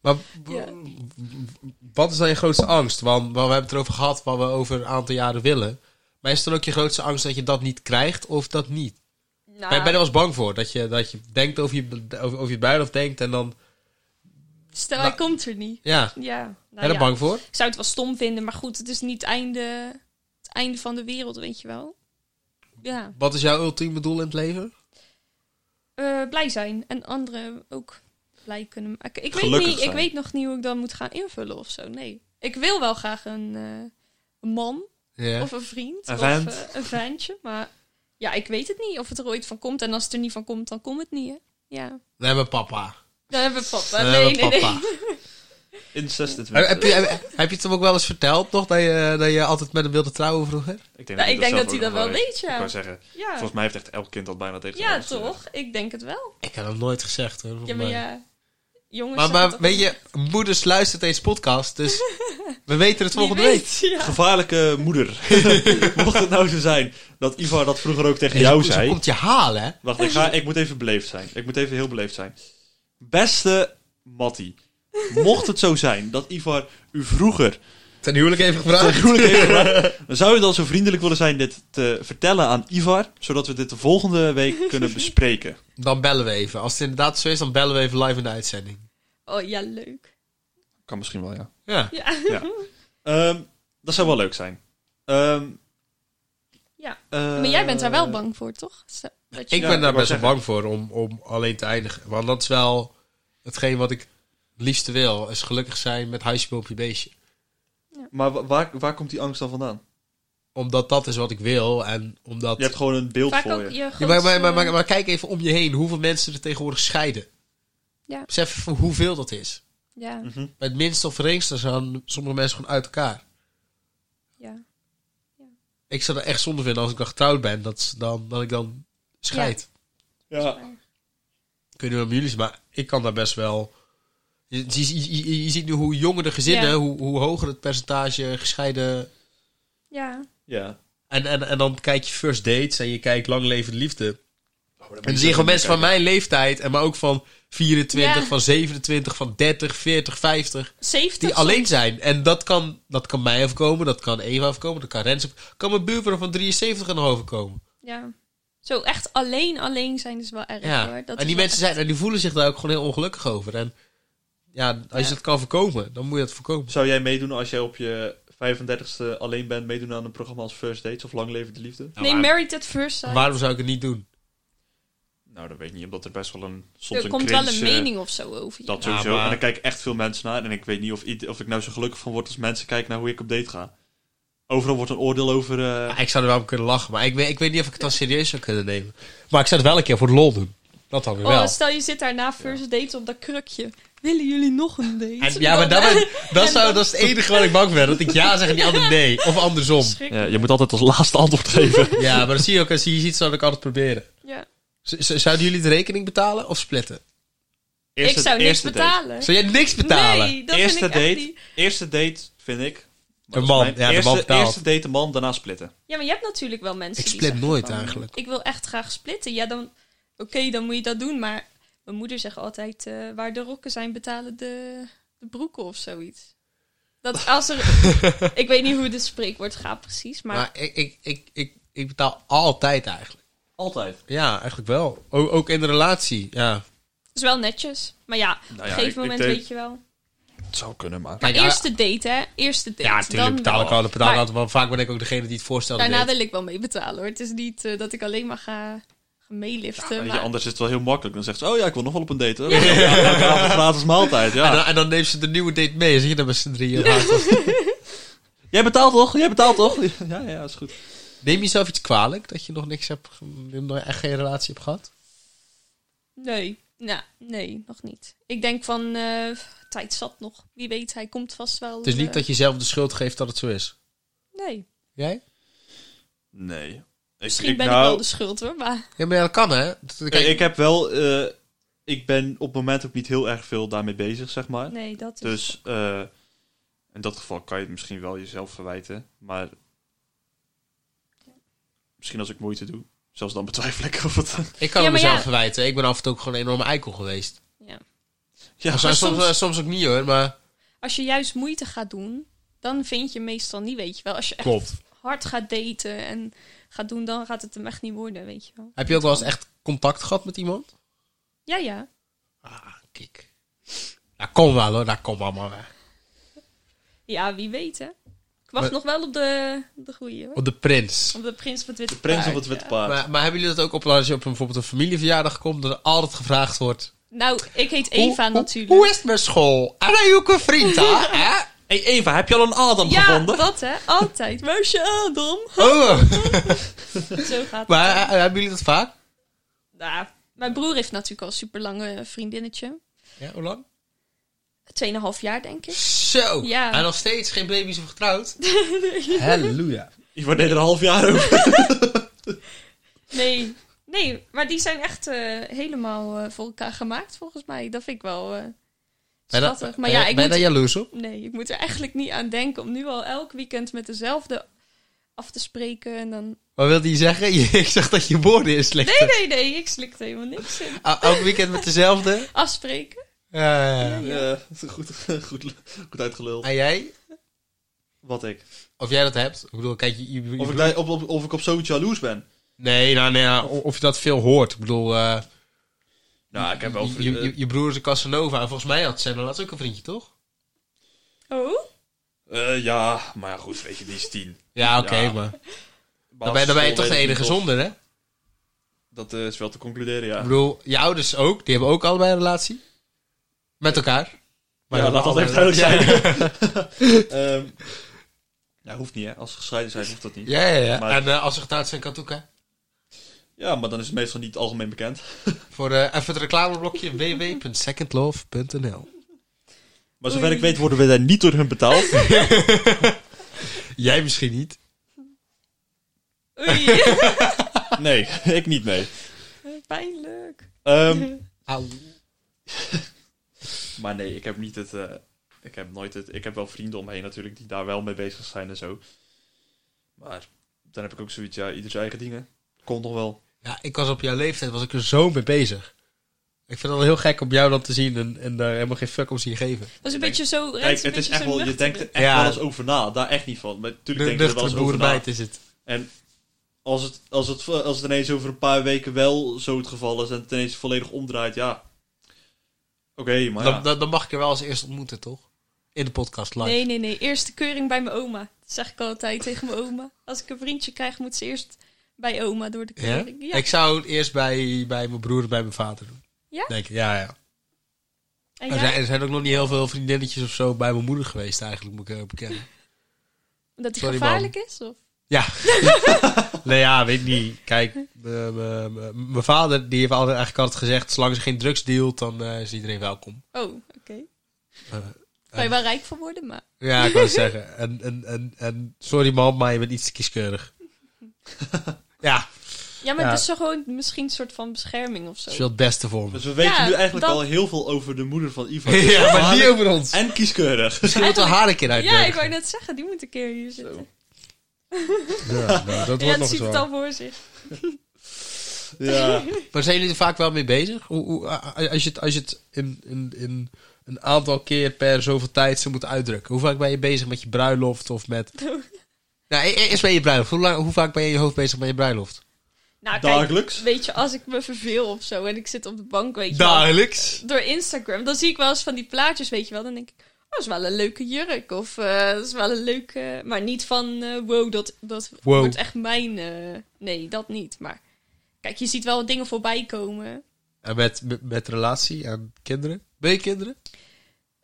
A: Maar w-
C: Ja.
A: w- wat is dan je grootste angst? Want, want we hebben het erover gehad wat we over een aantal jaren willen. Maar is dan ook je grootste angst dat je dat niet krijgt of dat niet?
C: Nou,
A: Ben, ben je er wel eens bang voor? Dat je, dat je denkt over je, be- over, over je bruiloft denkt en dan...
C: Stel,
A: Nou-
C: hij komt er niet.
A: Ja, ben
C: Ja, nou
A: je daar
C: ja.
A: bang voor?
C: Ik zou het wel stom vinden, maar goed, het is niet het einde, het einde van de wereld, weet je wel. Ja,
A: Wat is jouw ultieme doel in het leven?
C: Eh, blij zijn en anderen ook blij kunnen maken. Ik weet,
B: Gelukkig
C: niet, ik
B: zijn.
C: weet nog niet hoe ik dan moet gaan invullen of zo, nee. Ik wil wel graag een, eh, een man
A: Ja.
C: of een vriend
B: Een
C: of
B: vent.
C: eh, een ventje, maar ja, ik weet het niet of het er ooit van komt. En als het er niet van komt, dan komt het niet, hè. Ja,
A: Nee, mijn papa.
C: dan hebben we papa.
A: Dan
C: Nee,
A: hebben
C: nee,
A: we
C: nee.
A: papa.
B: Incest het
A: Eh, Heb, je, heb, heb je het hem ook wel eens verteld nog? Dat je, dat je altijd met hem wilde trouwen vroeger?
B: Ik denk
C: Nou, ik denk
B: zelf
C: dat hij
B: ook
C: dat
B: nog
C: wel weet,
B: Ik
C: ja.
B: wou zeggen,
C: Ja,
B: volgens mij heeft echt elk kind dat bijna tegen zijn
C: ja
B: ouders, eh,
C: toch? Ik denk het wel.
A: Ik heb hem nooit gezegd hoor.
C: Ja, maar ja. Jongens,
A: Maar,
C: zeggen
A: maar
C: toch
A: weet
C: niet-
A: je, moeders luistert deze podcast, dus we weten het
C: Wie
A: volgende
C: weet,
A: week.
C: ja.
B: Gevaarlijke moeder. Mocht het nou zo zijn dat Ivar dat vroeger ook tegen
A: En
B: jou
A: ze
B: zei.
A: komt je halen, hè?
B: Wacht, ik, ga, ik moet even beleefd zijn. Ik moet even heel beleefd zijn. Beste Matty, mocht het zo zijn dat Ivar u vroeger
A: Ten huwelijk even gevraagd.
B: Groene heeft gedaan, dan zou je dan zo vriendelijk willen zijn dit te vertellen aan Ivar, zodat we dit de volgende week kunnen bespreken.
A: Dan bellen we even. Als het inderdaad zo is, dan bellen we even live in de uitzending.
C: Oh ja, leuk.
B: Kan misschien wel, ja.
A: Ja.
C: Ja.
B: Ehm, dat zou wel leuk zijn. Ehm,
C: Ja.
B: eh,
C: maar jij bent daar wel bang voor, toch? Zo- dat je-
A: Ik
B: Ja,
A: ben
B: ik
A: daar
B: wou
A: best wel
B: zeggen.
A: bang voor om, om alleen te eindigen. Want dat is wel hetgeen wat ik het liefste wil. Is gelukkig zijn met huisspul op je beestje.
B: Maar wa- waar, waar komt die angst dan vandaan?
A: Omdat dat is wat ik wil. En omdat...
B: Je hebt gewoon een beeld
C: Vaak
B: voor
C: ook
B: je.
C: je
A: Ja, maar, maar,
C: grootste-
A: maar, maar, maar kijk even om je heen. Hoeveel mensen er tegenwoordig scheiden.
C: Ja.
A: Besef even hoeveel dat is.
C: Ja,
B: Mhm.
A: Bij het minste of geringste zijn sommige mensen gewoon uit elkaar.
C: ja.
A: Ik zou het echt zonde vinden als ik dan getrouwd ben. Dat, ze dan, dat ik dan scheid.
B: Ja.
A: Ik weet niet om jullie is, maar ik kan daar best wel. Je, je- je- je- je ziet nu hoe jonger de gezinnen,
C: Ja.
A: hoe, hoe hoger het percentage gescheiden.
C: Ja.
B: ja.
A: En, en, en dan kijk je first dates en je kijkt lang levend liefde.
B: En
A: En dan zie je gewoon mensen van mijn leeftijd, en maar ook van 24,
C: Ja.
A: van 27, van 30, 40, 50.
C: 70
A: Die
C: soms.
A: alleen zijn. En dat kan, dat kan mij overkomen, dat kan Eva overkomen, dat kan Rens overkomen. Kan mijn buurvrouw van 73 er nog overkomen.
C: Ja. Zo echt alleen alleen zijn is wel erg
A: Ja.
C: hoor. Dat
A: en
C: is
A: die
C: wel
A: mensen
C: echt-
A: zijn, en die voelen zich daar ook gewoon heel ongelukkig over. En ja, als
C: Ja.
A: je dat kan voorkomen, dan moet je dat voorkomen.
B: Zou jij meedoen als jij op je 35ste alleen bent, meedoen aan een programma als First Dates of Lang Leven de Liefde?
A: Ja,
C: Nee,
A: Nou, maar-
C: married at first sight.
A: Waarom zou ik het niet doen?
B: Nou, dat weet ik niet, omdat er best wel een soms
C: er
B: een
C: komt wel een
B: cringe, eh,
A: eh,
C: mening of zo over je.
B: Dat
A: Ja,
B: sowieso.
A: maar-
B: En daar kijken echt veel mensen naar. En ik weet niet of, ied- of ik nou zo gelukkig van word als mensen kijken naar hoe ik op date ga. Overal wordt een oordeel over... eh,
A: Ja, ik zou er wel om kunnen lachen, maar ik weet, ik weet niet of ik het dan serieus zou kunnen nemen. Maar ik zou het wel een keer voor de lol doen. Dat dan weer
C: Oh,
A: wel.
C: stel je zit daar na first date op dat krukje. Willen jullie nog een date? Oh,
A: En, ja, maar dat, ben- dat, zou, dat is het enige waar ik bang ben. Dat ik ja zeg en die ander nee. Of andersom.
C: Schrik.
B: ja, je moet altijd als laatste antwoord geven.
A: Ja, maar dat zie je ook. Als je je ziet, zou ik altijd proberen.
C: Ja.
A: Z- z- zouden jullie de rekening betalen of splitten?
B: Eerste-
C: ik zou niks
B: eerste date.
C: betalen.
A: Zou jij niks betalen?
C: Nee, dat
B: eerste
C: vind ik
B: date,
C: echt niet.
B: Eerste date vind ik...
A: Een man,
B: Mijn
A: ja, de
B: eerste,
A: man betaalt.
B: Eerste date een man, daarna splitten.
C: Ja, maar je hebt natuurlijk wel mensen
A: Ik
C: die
A: split
C: zeggen
A: nooit
C: van,
A: eigenlijk.
C: Ik wil echt graag splitten. Ja, dan... Oké, dan moet je dat doen. Maar mijn moeder zegt altijd... eh, waar de rokken zijn, betalen de, de broeken of zoiets. Dat als er... ik weet niet hoe dit spreekwoord gaat precies, maar...
A: Maar, ik, ik, ik, ik, ik betaal altijd eigenlijk.
B: Altijd.
A: Ja, eigenlijk wel. O- ook in de relatie. Ja.
C: Het is wel netjes. Maar ja, op een
B: ja,
C: gegeven
B: ik- ik
C: moment
B: denk-
C: weet je wel.
B: Het zou kunnen, maar...
A: Kijk,
C: Eerste date, hè? Eerste date.
A: ja, natuurlijk
C: Dan
A: betaal ik
C: wel.
A: altijd. Betaal ik
C: Maar
A: altijd want vaak ben ik ook degene die het voorstelt.
C: Daarna wil ik wel mee betalen, hoor. Het is niet eh, dat ik alleen maar ga, ga meeliften.
B: Weet je,
C: maar...
B: anders is het wel heel makkelijk. Dan zegt ze, oh ja, ik wil nog wel op een date. hoor. Ja. elke avond gratis maaltijd,
A: En,
B: ja.
A: dan, en dan neemt ze de nieuwe date mee. Zie je dan met z'n drieën?
B: Jij betaalt toch? Jij betaalt toch? Ja, ja, is goed.
A: Neem jezelf iets kwalijk dat je nog niks hebt, ge- nog echt geen relatie hebt gehad?
C: Nee, nou, nee, nog niet. Ik denk van, eh, tijd zat nog. Wie weet, hij komt vast wel.
A: Het is niet
C: eh,
A: dat je zelf de schuld geeft dat het zo is.
C: Nee,
A: Jij?
B: Nee. Ik-
C: misschien ben ik
B: nou,
C: wel de schuld hoor, maar...
A: Ja, maar ja, dat kan hè? Dat- kijk,
B: Kijk, ik heb wel... eh, ik ben op het moment ook niet heel erg veel daarmee bezig, zeg maar.
C: Nee, dat is...
B: Dus eh, in dat geval kan je het misschien wel jezelf verwijten. Maar misschien als ik moeite doe. Zelfs dan betwijfel ik of het...
A: ik kan
C: Ja,
A: het
C: maar
A: mezelf
C: ja.
A: verwijten. Ik ben af en toe ook gewoon een enorme eikel geweest.
C: Ja.
B: Ja,
A: soms, soms,
C: soms-
A: eh, soms ook niet hoor, maar...
C: Als je juist moeite gaat doen, dan vind je meestal niet, weet je wel. Als je echt
A: Klopt.
C: hard gaat daten en gaat doen, dan gaat het hem echt niet worden, weet je wel.
A: Heb je ook wel eens echt contact gehad met iemand?
C: Ja, ja.
A: Ah, kijk. Daar kom wel hoor, daar kom allemaal weg.
C: Ja, wie weet hè. Ik wacht
A: Maar-
C: nog wel op de, de goeie hoor.
A: Op de prins.
C: Op de prins van het witte
B: De prins op
C: Paard,
B: het witte
C: ja.
B: paard.
A: Maar, maar hebben jullie dat ook op als je op een, bijvoorbeeld een familieverjaardag komt, dat er altijd gevraagd wordt...
C: Nou, ik heet
A: hoe-
C: Eva
A: hoe-
C: natuurlijk.
A: Hoe, is het met school? En dan ook een vriend hè? hè?
B: Hey Eva, heb je al een Adam
C: ja,
B: gevonden?
C: dat hè. Altijd. Waar is je Adam?
A: Oh.
C: Zo gaat het.
A: Maar eh, hebben jullie dat vaak?
C: Nou, mijn broer heeft natuurlijk al een super lange vriendinnetje.
A: Ja, hoe lang?
C: Tweeënhalf jaar, denk ik.
A: Zo.
C: Ja.
A: En nog steeds geen baby's of getrouwd. Halleluja.
B: Je wordt er een half jaar over.
C: Nee, nee maar die zijn echt eh, helemaal eh, voor elkaar gemaakt, volgens mij. Dat vind ik wel eh
A: Ben je,
C: schattig. Maar ja, ik
A: ben je
C: moet,
A: daar jaloers op?
C: nee, ik moet er eigenlijk niet aan denken om nu al elk weekend met dezelfde af te spreken. En dan...
A: Maar wil hij zeggen? ik zeg dat je woorden is slecht.
C: Nee, nee, nee, ik slikte helemaal niks. in.
A: O- Elk weekend met dezelfde?
C: Afspreken?
A: Ja, ja, ja.
C: Ja.
B: Ja, goed, goed, goed uitgeluld.
A: En jij?
B: Wat ik.
A: Of jij dat hebt? Ik bedoel, kijk, je, je- je-
B: Of ik, li- op, op, of ik op zoiets jaloers ben.
A: Nee, nou, nee, nou, o- of je dat veel hoort. Ik bedoel, eh,
B: Nou, ik heb wel...
A: je, je, je broer is een Casanova. En volgens mij had Senna laatst ook een vriendje, toch?
C: Oh?
B: Eh, ja, maar ja, goed, weet je, die is tien.
A: Ja, oké,
B: Ja.
A: maar dan ben,
B: Basisschool
A: dan ben je toch
B: weet
A: de
B: ik
A: enige
B: niet of-
A: zonder, hè?
B: Dat eh, is wel te concluderen, ja.
A: Ik bedoel, je ouders ook. Die hebben ook allebei een relatie. Met elkaar.
B: Maar ja, laat dat even duidelijk zijn. Ehm, ja, hoeft niet, hè. Als ze gescheiden zijn, hoeft dat niet.
A: Ja, ja, ja.
B: Maar-
A: En eh, als ze getrouwd zijn, kan het ook, hè?
B: Ja, maar dan is het meestal niet algemeen bekend.
A: Voor eh, even het reclameblokje www.secondlove.nl
B: Maar zover ik weet worden we daar niet door hun betaald.
A: Jij misschien niet.
C: Oei,
B: Nee, ik niet, nee.
C: pijnlijk.
B: Ehm,
A: Au.
B: maar nee, ik heb niet het... eh, ik heb nooit het... Ik heb wel vrienden omheen natuurlijk die daar wel mee bezig zijn en zo. Maar dan heb ik ook zoiets, ja, ieder zijn eigen dingen. Komt nog wel.
A: Ja, ik was op jouw leeftijd was ik er zo mee bezig. Ik vind het wel heel gek om jou dan te zien en, en daar helemaal geen fuck om zien geven.
C: Dat is een
B: Kijk,
C: beetje zo...
B: Kijk, het is echt wel... Je denkt er echt
A: Ja.
B: wel eens over na. Daar echt niet van. Maar
A: De
B: natuurlijk denk je er
A: nuchtere
B: wel eens over na.
A: boerenbijt is het.
B: En als het, als, het, als het ineens over een paar weken wel zo het geval is en het ineens volledig omdraait, ja. Oké, maar ja.
A: Dan, dan, dan mag ik je wel als eerst ontmoeten, toch? In de podcast live.
C: Nee, nee, nee. Eerst de keuring bij mijn oma. Dat zeg ik altijd tegen mijn oma. Als ik een vriendje krijg, moet ze eerst bij oma door de
A: Ja?
C: keuring. Ja?
A: Ik zou het eerst bij, bij mijn broer en bij mijn vader doen.
C: Ja?
A: Denk ik, ja, ja.
C: En
A: Er
C: jij?
A: zijn, er zijn ook nog niet heel veel vriendinnetjes of zo bij mijn moeder geweest eigenlijk, moet ik eh, bekennen.
C: Omdat die
A: Sorry,
C: gevaarlijk is? Of?
A: nee, ja, weet niet. Kijk, m- m- m- mijn vader die heeft altijd, eigenlijk altijd gezegd, zolang ze geen drugs dealt, dan eh, is iedereen welkom.
C: Oh, oké.
A: Eh,
C: Kan je wel rijk van worden, maar...
A: ja, ik wou het zeggen. En, en, en, en sorry man, maar je bent iets te kieskeurig. ja,
C: Ja, maar
A: Ja.
C: het is zo gewoon misschien een soort van bescherming of
A: dat is
C: zo.
A: wel het beste voor me.
B: Dus we weten
C: Ja,
B: nu eigenlijk
C: dat-
B: al heel veel over de moeder van Ivan.
A: ja, maar niet over ons.
B: En kieskeurig.
A: Misschien moeten we haar een keer
C: Ja, ik
A: uitnodigen.
C: wou net zeggen, die moet een keer hier zitten.
A: Ja, nou, dat
C: ja, dat ziet het al voor zich.
B: Ja.
A: Maar zijn jullie er vaak wel mee bezig? Hoe, hoe, a- a- als je het, als je het in, in, in een aantal keer per zoveel tijd zou moeten uitdrukken. Hoe vaak ben je bezig met je bruiloft of met... Nou, e- e- eerst ben je bruiloft. Hoe, lang, hoe vaak ben je in je hoofd bezig met je bruiloft?
C: Nou, kijk,
B: Dagelijks.
C: weet je, als ik me verveel of zo en ik zit op de bank, weet je wel,
A: Dagelijks.
C: door Instagram, dan zie ik wel eens van die plaatjes, weet je wel. Dan denk ik, oh, dat is wel een leuke jurk. Of eh, dat is wel een leuke... Maar niet van, eh, wow, dat, dat
A: Wow.
C: wordt echt mijn... eh, nee, dat niet. Maar kijk, je ziet wel wat dingen voorbij komen.
A: En met, met, met relatie en kinderen? Ben je kinderen?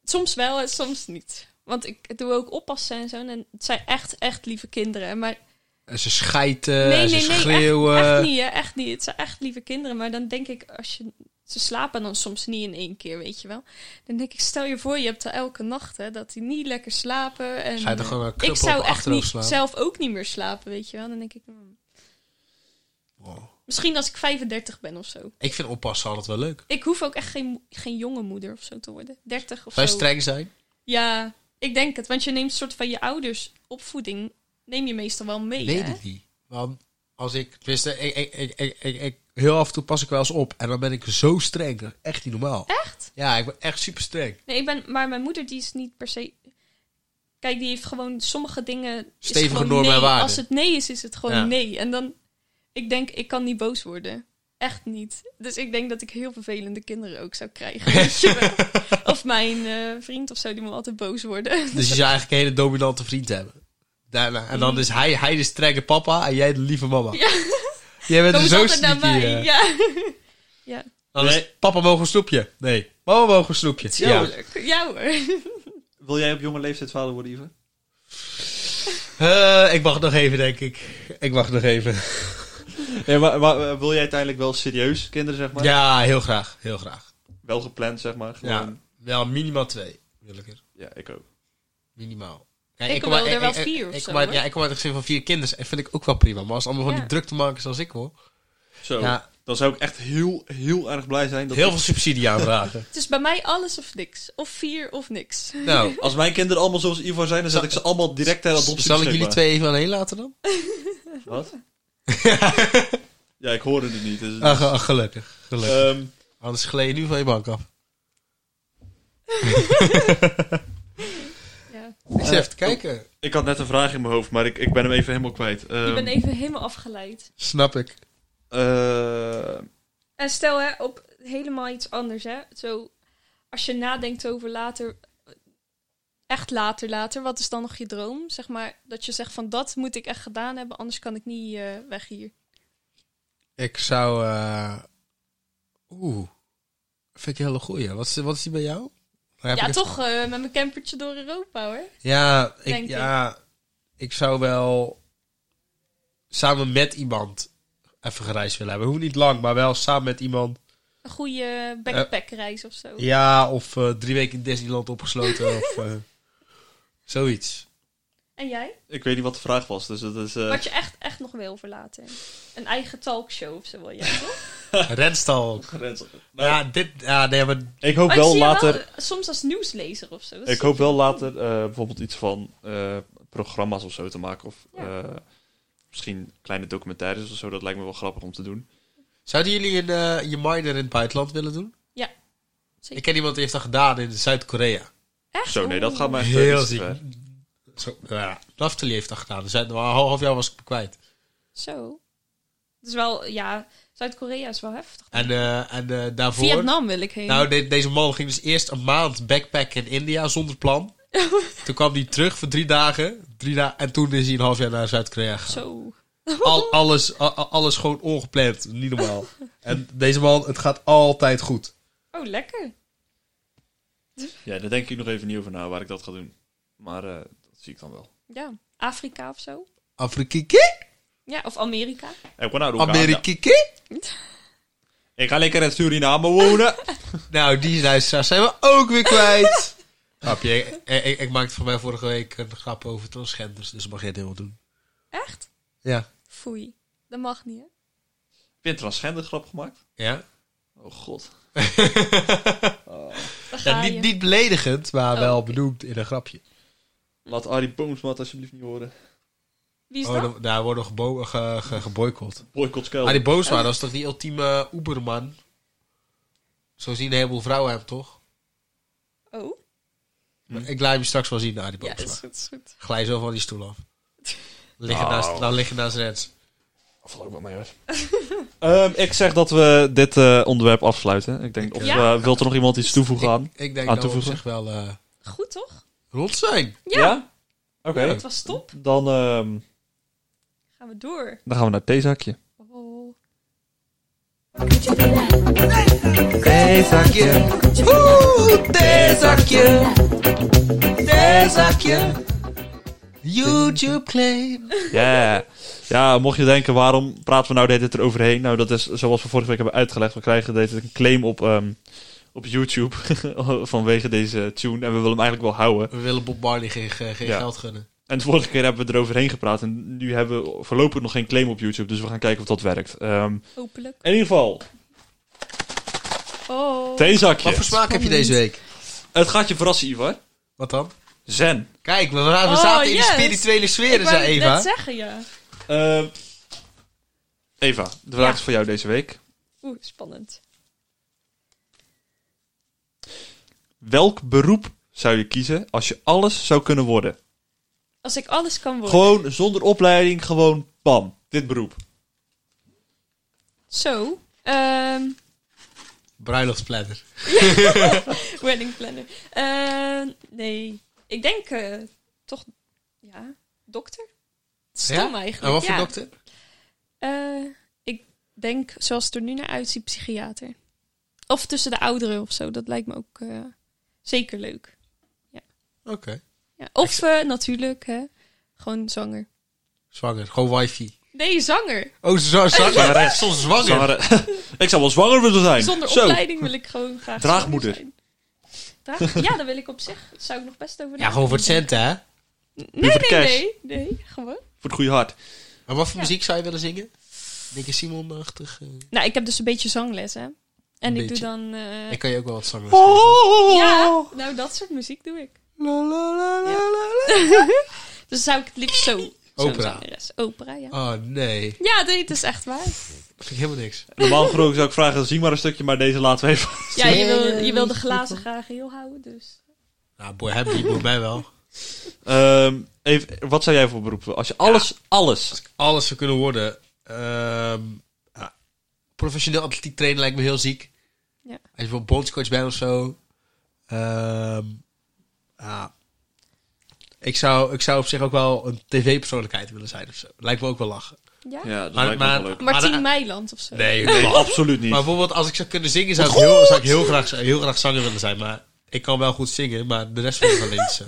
C: Soms wel en soms niet. Want ik doe ook oppassen en zo. En het zijn echt, echt lieve kinderen. Maar
A: En ze schijten,
C: nee,
A: en ze
C: nee, nee,
A: schreeuwen.
C: echt, echt niet, hè, echt niet. Het zijn echt lieve kinderen. Maar dan denk ik, als je... Ze slapen dan soms niet in één keer, weet je wel. Dan denk ik, stel je voor, je hebt er elke nacht, hè, dat die niet lekker slapen. En,
A: Ga je er gewoon een
C: ik
A: knuppel op
C: zou
A: je
C: echt
A: achterhoofd
C: niet,
A: slaan?
C: zelf ook niet meer slapen, weet je wel. Dan denk ik, hmm.
A: Wow.
C: misschien als ik 35 ben of zo.
A: Ik vind oppassen altijd wel leuk.
C: Ik hoef ook echt geen, mo- geen jonge moeder of zo te worden. 30 of
A: Zou je
C: zo.
A: streng zijn?
C: Ja, ik denk het. Want je neemt een soort van je ouders opvoeding, neem je meestal wel mee,
A: Weet
C: hè?
A: ik niet. Want als ik, tenminste, ik, ik, ik, ik, ik, ik- heel af en toe pas ik wel eens op. En dan ben ik zo streng. Dat is echt niet normaal.
C: Echt?
A: Ja, ik ben echt super streng.
C: Nee, ik ben, maar mijn moeder die is niet per se... Kijk, die heeft gewoon sommige dingen... is
A: Stevige
C: gewoon
A: normen en
C: nee.
A: waarden.
C: Als het nee is, is het gewoon
A: Ja.
C: nee. En dan, ik denk, ik kan niet boos worden. Echt niet. Dus ik denk dat ik heel vervelende kinderen ook zou krijgen. Weet je wel. of mijn eh, vriend of zo, die moet altijd boos worden.
A: Dus je zou eigenlijk een hele dominante vriend hebben. Daarna. En dan is hij, hij de strenge papa en jij de lieve mama.
C: Mm. Ja.
A: Jij bent
C: Kom
A: er
C: eens
A: dus zo
C: altijd naar
A: sneaky.
C: mij.
A: eh.
C: Ja. ja,
A: Dan is
B: Nee.
A: papa mogen een snoepje. Nee. Mama mogen een snoepje. Ja.
C: tuurlijk. Ja. hoor.
B: Wil jij op jonge leeftijd vader worden, Ivan?
A: Eh, ik wacht nog even, denk ik. Ik wacht nog even.
B: Nee, maar, maar, eh, wil jij uiteindelijk wel serieus kinderen, zeg maar?
A: Ja, heel graag. Heel graag.
B: Wel gepland, zeg maar.
A: Ja.
B: Gewoon.
A: Wel minimaal twee. Wil ik er.
B: Ja. ik ook.
A: Minimaal. Ja,
C: Ik
A: uit-
C: wil er wel
A: ik- ik-
C: vier of
A: ik
C: zo,
A: kom uit-
C: hoor.
A: Ja, ik kom uit een gezin van vier kinderen. En vind ik ook wel prima. Maar als het allemaal gewoon
C: Ja.
A: die drukte maken zoals ik hoor.
B: Zo.
A: Ja,
B: dan zou ik echt heel, heel erg blij zijn. Dat
A: Heel
B: ik-
A: veel subsidie aanvragen.
C: Het is Dus bij mij alles of niks. Of vier of niks.
A: nou,
B: Als mijn kinderen allemaal zoals Ivar zijn, dan zet ik ze allemaal direct ter adoptie
A: zal ik jullie
B: beschikbaar.
A: twee even alleen laten dan?
B: Wat? ja, ik hoorde het niet. Dus,
A: Ach, ach, gelukkig. Ah, gelukkig.
B: Ehm,
A: Anders gleed je nu van je bank af.
C: Ja.
A: Ik zit even te kijken.
B: ik had net een vraag in mijn hoofd, maar ik, ik ben hem even helemaal kwijt.
C: Je
B: Ehm,
C: bent even helemaal afgeleid.
A: Snap ik.
B: eh,
C: En stel hè, op helemaal iets anders hè. Zo, als je nadenkt over later, echt later later, wat is dan nog je droom? Zeg maar, dat je zegt van dat moet ik echt gedaan hebben, anders kan ik niet eh, weg hier.
A: Ik zou... eh, Oeh. Vind ik een hele goeie. Wat is, wat is die bij jou? Daar heb
C: ja,
A: ik het-
C: toch eh, met mijn campertje door Europa hoor.
A: Ja, ik,
C: Denk
A: ja, ik zou wel samen met iemand even gereisd willen hebben. Hoe niet lang, maar wel samen met iemand.
C: Een goede backpackreis of zo.
A: Ja, of eh, drie weken in Disneyland opgesloten of eh, zoiets.
C: En jij?
B: ik weet niet wat de vraag was, dus dat is... eh,
C: Wat je echt, echt nog wil voor later. Een eigen talkshow of zo wil jij toch?
A: Renstal.
B: grens- Nou,
A: Ja, dit, ja, nee, maar
B: Ik hoop
C: Maar ik
B: wel
C: zie je
B: later...
C: eh, soms als nieuwslezer of zo. Dat is
B: Ik hoop wel later eh, bijvoorbeeld iets van eh, programma's of zo te maken. Of
C: Ja.
B: eh, misschien kleine documentaires of zo. Dat lijkt me wel grappig om te doen.
A: zouden jullie een, eh, je minor in het buitenland willen doen?
C: Ja, zeker.
A: Ik ken iemand die heeft dat gedaan in Zuid-Korea.
C: Echt?
B: Zo, nee, dat
C: Oeh.
B: gaat mij echt eh,
A: Heel
B: iets te
A: ziek.
B: ver.
A: Zo, ja, Naftali heeft dat gedaan. Dus een half jaar was ik hem kwijt.
C: Zo. Het is wel, ja, Zuid-Korea is wel heftig.
A: En, eh, en eh, daarvoor...
C: Vietnam wil ik heen.
A: Nou, de- deze man ging dus eerst een maand backpacken in India zonder plan. toen kwam hij terug voor drie dagen. Drie da en toen is hij een half jaar naar Zuid-Korea gegaan.
C: Zo.
A: Al, alles, a- a- alles gewoon ongepland. Niet normaal. en deze man, het gaat altijd goed.
C: Oh, lekker.
B: Ja, daar denk ik nog even niet over na waar ik dat ga doen. Maar eh, dat zie ik dan wel.
C: Ja. Afrika of zo.
A: Afrikieke?
C: Ja, of Amerika.
B: Ik ga naar Oeganda.
A: Amerikieke?
B: Ik ga lekker in Suriname wonen.
A: Nou, die luisteraars zijn we ook weer kwijt. Grapje, ik, ik, ik maakte van mij vorige week een grap over transgenders, dus dat mag jij het helemaal doen.
C: Echt?
A: Ja.
C: Foei. Dat mag niet, hè?
B: Heb je een transgender grap gemaakt?
A: Ja?
B: Oh god.
C: Dan ga
A: ja
C: je.
A: niet, niet beledigend, maar
C: Oh,
A: wel
C: oké.
A: benoemd in een grapje.
B: Laat Arie Boomsma het alsjeblieft niet horen.
C: Wie is
A: Oh,
C: dat?
A: dan- daar worden we gebo- ge- ge- geboycott.
B: Boycott Skel.
A: Maar die Boosma, dat is toch die ultieme Uberman? Zo zien een heleboel vrouwen hem, toch?
C: Oh.
B: Hm.
A: Ik laat hem straks wel zien, Nou, Arie
C: Ja,
A: Boosma.
C: is goed, is goed.
A: Glij zo van die stoel af. Liggen
B: Nou.
A: naast, dan liggen naast Rens.
B: Afgelopen met mij hoor. Ehm, ik zeg dat we dit eh, onderwerp afsluiten. Ik denk, of
C: Ja.
B: eh, wilt er nog iemand iets toevoegen aan?
A: Ik denk dat we
B: Aan
A: op
B: toevoegen?
A: zich wel eh
C: Goed, toch?
A: rond zijn.
C: Ja.
B: Oké.
C: Het was top.
B: Dan, ehm,
C: Gaan we door.
B: dan gaan we naar het theezakje.
C: Oh.
A: Theezakje. Oeh, theezakje. Theezakje. YouTube claim.
B: Ja. Ja, mocht je denken, waarom praten we nou dit het eroverheen? Nou, dat is zoals we vorige week hebben uitgelegd. We krijgen deze een claim op, ehm, op YouTube vanwege deze tune. En we willen hem eigenlijk wel houden.
A: We willen Bob Marley geen, geen geen
B: Ja.
A: geld gunnen.
B: En de vorige keer hebben we eroverheen gepraat. En nu hebben we voorlopig nog geen claim op YouTube. Dus we gaan kijken of dat werkt. Ehm,
C: Hopelijk.
B: in ieder geval,
A: Wat
C: Oh.
A: voor
B: theezakje.
A: smaak heb je deze week?
B: Het gaat je verrassen, Ivar.
A: Wat dan?
B: Zen.
A: Kijk, we, waren- we
C: Oh,
A: zaten in
C: yes.
A: de spirituele
C: Ik
A: sferen,
C: wou
A: zei
C: het
A: Eva.
C: net zeggen, ja.
B: Ehm, Eva, de vraag
C: Ja.
B: is voor jou deze week.
C: Oeh, spannend.
B: Welk beroep zou je kiezen als je alles zou kunnen worden?
C: Als ik alles kan worden.
B: Gewoon zonder opleiding, gewoon bam. Dit beroep.
C: Zo. Ehm
A: Bruiloftsplanner.
C: Wedding planner. Eh, nee, ik denk eh, toch, ja, dokter. Stom
A: Ja?
C: eigenlijk.
A: En wat voor
C: ja.
A: dokter?
C: Eh, ik denk, zoals het er nu naar uitziet, psychiater. Of tussen de ouderen of zo. Dat lijkt me ook eh, zeker leuk.
A: Oké.
C: Ja. Of eh, natuurlijk, hè, gewoon zanger.
A: Zwanger. Gewoon wifi.
C: Nee, zanger.
A: Oh, zo, zwanger. Soms zwanger.
B: Zwanger- ik zou wel zwanger willen zijn.
C: Zonder
B: Zo.
C: opleiding wil ik gewoon graag zanger
B: Draagmoeder.
C: zijn. Draag- ja, daar wil ik op zich, daar zou ik nog best over
A: Ja, gewoon voor het
C: nadenken.
A: centen, hè?
B: Puur voor de
C: Nee,
B: cash.
C: nee, nee, nee, gewoon.
B: Voor het goede hart.
A: En wat voor
C: Ja.
A: muziek zou je willen zingen? Nicky Simon-achtig. eh.
C: Nou, ik heb dus een beetje zangles, hè. En ik doe
A: beetje.
C: dan... eh,
A: Ik Oh! kan je ook wel wat zangen.
C: Ja, nou, dat soort muziek doe ik.
A: La, la, la, la,
C: Ja.
A: la,
C: Dus zou ik het liefst zo. zo'n
A: Opera.
C: zangeres. Opera, ja.
A: la. Oh nee,
C: Ja, dit is echt waar.
A: dat vind ik helemaal niks.
B: Normaal gesproken zou ik vragen, zing maar een stukje, maar deze laten we even.
C: Ja, je wil, je wil de glazen graag heel houden, dus...
A: Nou, boy, heb je bij wel.
B: Ehm, even, wat zou jij voor beroep willen? Als je alles, alles.
A: Alles zou kunnen worden. Ehm, ja, professioneel atletiek trainen lijkt me heel ziek.
C: Ja.
A: Als je bijvoorbeeld bondscoach bent of zo. Ehm, ja. ik, zou, ik zou op zich ook wel een tv-persoonlijkheid willen zijn of zo. Lijkt me ook wel lachen.
C: Ja?
B: Ja, dat
A: Maar-
B: lijkt me
A: maar-
B: wel leuk.
C: Martien
A: Maar de-
C: Meiland of zo.
A: Nee,
B: Nee, absoluut niet.
A: Maar bijvoorbeeld als ik zou kunnen zingen, zou ik heel, zou ik heel, graag, heel graag zanger willen zijn. Maar ik kan wel goed zingen, maar de rest van het alleen niet zo.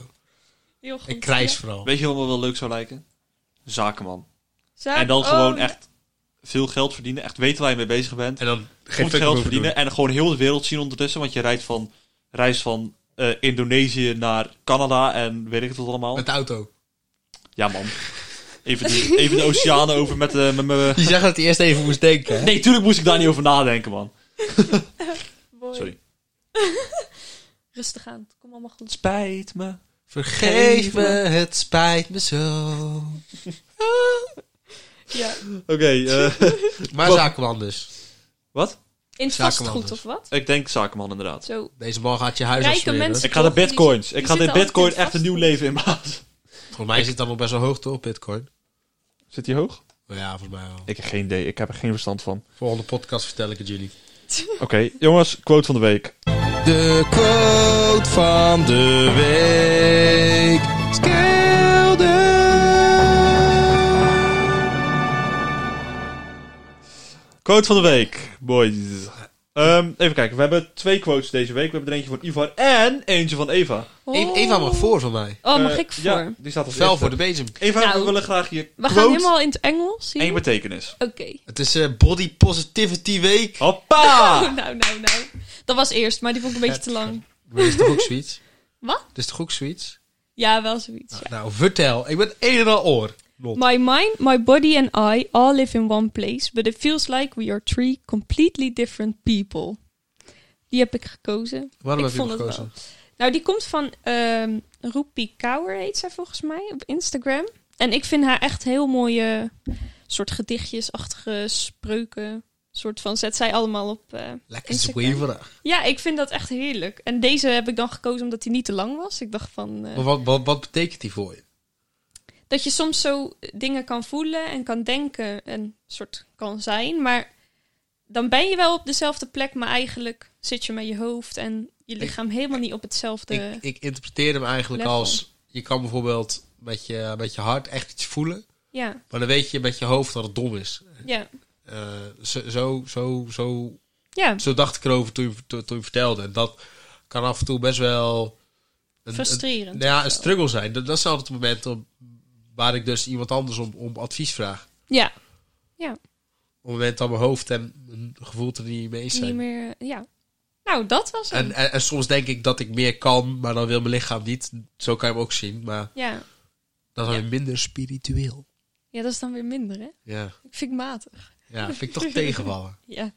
C: Heel goed.
A: Ik krijs
C: Ja.
A: vooral.
B: Weet je wat me wel leuk zou lijken? Zakenman.
C: Zaak-
B: en dan
C: oh,
B: gewoon
C: ja.
B: echt veel geld verdienen. Echt weten waar je mee bezig bent.
A: En dan geen
B: Goed
A: fuck
B: geld
A: over
B: verdienen. En gewoon heel de wereld zien ondertussen. Want je rijdt van, reist van eh, Indonesië naar Canada en weet ik het wat
A: doen.
B: allemaal.
A: Met de auto.
B: Ja man. Even de, even de oceanen over met eh, met mijn...
A: Je zegt dat hij eerst even moest denken.
B: Nee, tuurlijk moest ik daar niet over nadenken, man.
C: Mooi.
B: Sorry.
C: Rustig aan, het komt allemaal goed.
B: Spijt me.
A: Vergeef me, het spijt me zo.
C: Ja.
B: Oké, eh,
A: Maar
B: Wat-
A: zakenman dus.
B: wat?
C: In
A: Zakenman
C: vastgoed
A: dus.
C: of wat?
B: Ik denk zakenman inderdaad.
C: Zo.
A: Deze man gaat je huis
C: Rijke
A: afsmeren.
C: mensen.
B: Ik ga de
C: Die-
B: bitcoins.
C: die
B: Ik ga de
C: zitten
B: bitcoin
C: altijd
B: echt een nieuw
C: vast.
B: leven inblazen.
A: Volgens mij zit het allemaal best wel hoog toch, bitcoin?
B: Zit die hoog?
A: Maar ja, volgens mij wel.
B: Ik heb geen idee. Ik heb er geen verstand van.
A: Volgende podcast vertel ik het jullie.
B: Oké, jongens, quote van de week.
A: De quote van de week.
B: Quote van de week, boys. Ehm, even kijken, we hebben twee quotes deze week. We hebben er eentje van Ivar en eentje van Eva.
A: E-
C: Oh.
A: Eva mag voor van mij.
C: Oh, mag
B: Eh,
C: ik voor?
B: Ja, die staat als
A: Vel
B: eerste.
A: voor de bezem.
B: Eva,
C: Nou,
B: we willen graag je
C: We gaan
B: quote
C: helemaal in het
B: en je
C: Engels. zien. Oké.
B: betekenis.
A: Het is eh, Body Positivity Week.
B: Hoppa!
C: Oh, nou, nou, nou. Dat was eerst, maar die vond ik een beetje te lang.
A: Maar dit is toch ook zoiets?
C: Wat?
A: Dit is toch ook zoiets?
C: Ja, wel zoiets. ja.
A: Nou, vertel. Ik ben een en al oor. Lot.
C: My mind, my body and I all live in one place, but it feels like we are three completely different people. Die heb ik gekozen.
A: Waarom
C: ik
A: heb je
C: vond
A: hem
C: het
A: gekozen?
C: Nou, die komt van ehm Roepie Kouwer, heet zij volgens mij, op Instagram. En ik vind haar echt heel mooie soort gedichtjesachtige spreuken. Soort van zet zij allemaal op. eh,
A: Lekker
C: Instagram.
A: zweverig.
C: Ja, ik vind dat echt heerlijk. En deze heb ik dan gekozen omdat die niet te lang was. Ik dacht van. eh,
A: Maar wat, wat, wat betekent die voor je?
C: dat je soms zo dingen kan voelen en kan denken en soort kan zijn. Maar dan ben je wel op dezelfde plek, maar eigenlijk zit je met je hoofd en je lichaam helemaal niet op hetzelfde.
A: Ik, ik interpreteer hem eigenlijk
C: level.
A: als... Je kan bijvoorbeeld met je, met je hart echt iets voelen.
C: Ja,
A: Maar dan weet je met je hoofd dat het dom is.
C: ja,
A: Eh, zo, zo, zo, zo,
C: ja.
A: zo dacht ik erover toen je, toen, toen je vertelde. En dat kan af en toe best wel... een- een-
C: Frustrerend.
A: Nou ja,
C: of
A: een
C: zo.
A: struggle zijn. Dat, dat is altijd het moment om- waar ik dus iemand anders om, om advies vraag.
C: Ja,
A: Op het moment dat mijn hoofd en mijn gevoel er niet mee eens
C: niet
A: zijn.
C: meer. eh, Ja. Nou, dat was het.
A: En, en, en soms denk ik dat ik meer kan, maar dan wil mijn lichaam niet. Zo kan je hem ook zien, maar
C: Ja.
A: dan zijn we minder spiritueel.
C: ja, dat is dan weer minder, hè?
A: Ja.
C: Ik vind het matig.
A: ja, vind ik toch tegenvallen.
C: Ja.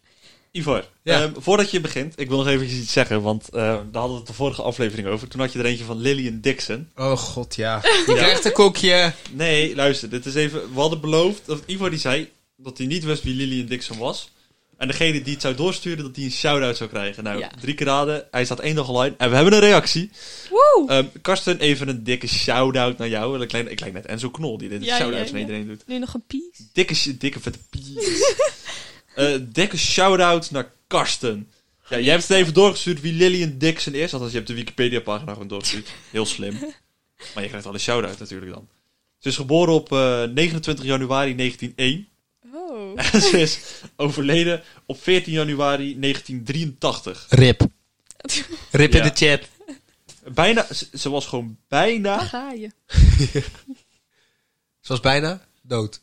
B: Ivar,
A: Ja.
B: ehm, voordat je begint, ik wil nog eventjes iets zeggen, want eh, daar hadden we het de vorige aflevering over. Toen had je er eentje van Lillian Dixon.
A: Oh god, ja. Je krijgt een kokje.
B: Nee, luister, dit is even. We hadden beloofd. Dat Ivo die zei dat hij niet wist wie Lillian Dixon was. En degene die het zou doorsturen, dat hij een shout-out zou krijgen. Nou,
C: Ja.
B: drie keer raden. Hij staat één dag online. En we hebben een reactie.
C: Woe!
B: Ehm, Karsten, even een dikke shout-out naar jou. Ik lijk, ik lijk net Enzo Knol, die dit
C: Ja,
B: shout-outs
C: ja,
B: naar
C: ja.
B: iedereen doet.
C: Nu nog een piece.
B: Dikke, sh- dikke vette pies. Eh, dikke shout-out naar Karsten. Ja, jij hebt het even doorgestuurd wie Lillian Dixon is. Althans, je hebt de Wikipedia-pagina gewoon doorgestuurd. Heel slim. Maar je krijgt al een shout-out natuurlijk dan. Ze is geboren op eh, 29 januari 1901.
C: Oh.
B: En ze is overleden op 14 januari 1983.
A: Rip. Rip
B: Ja.
A: in de chat.
B: Bijna, ze- ze was gewoon
C: Daar
B: bijna...
C: ga je.
A: Ze was bijna dood.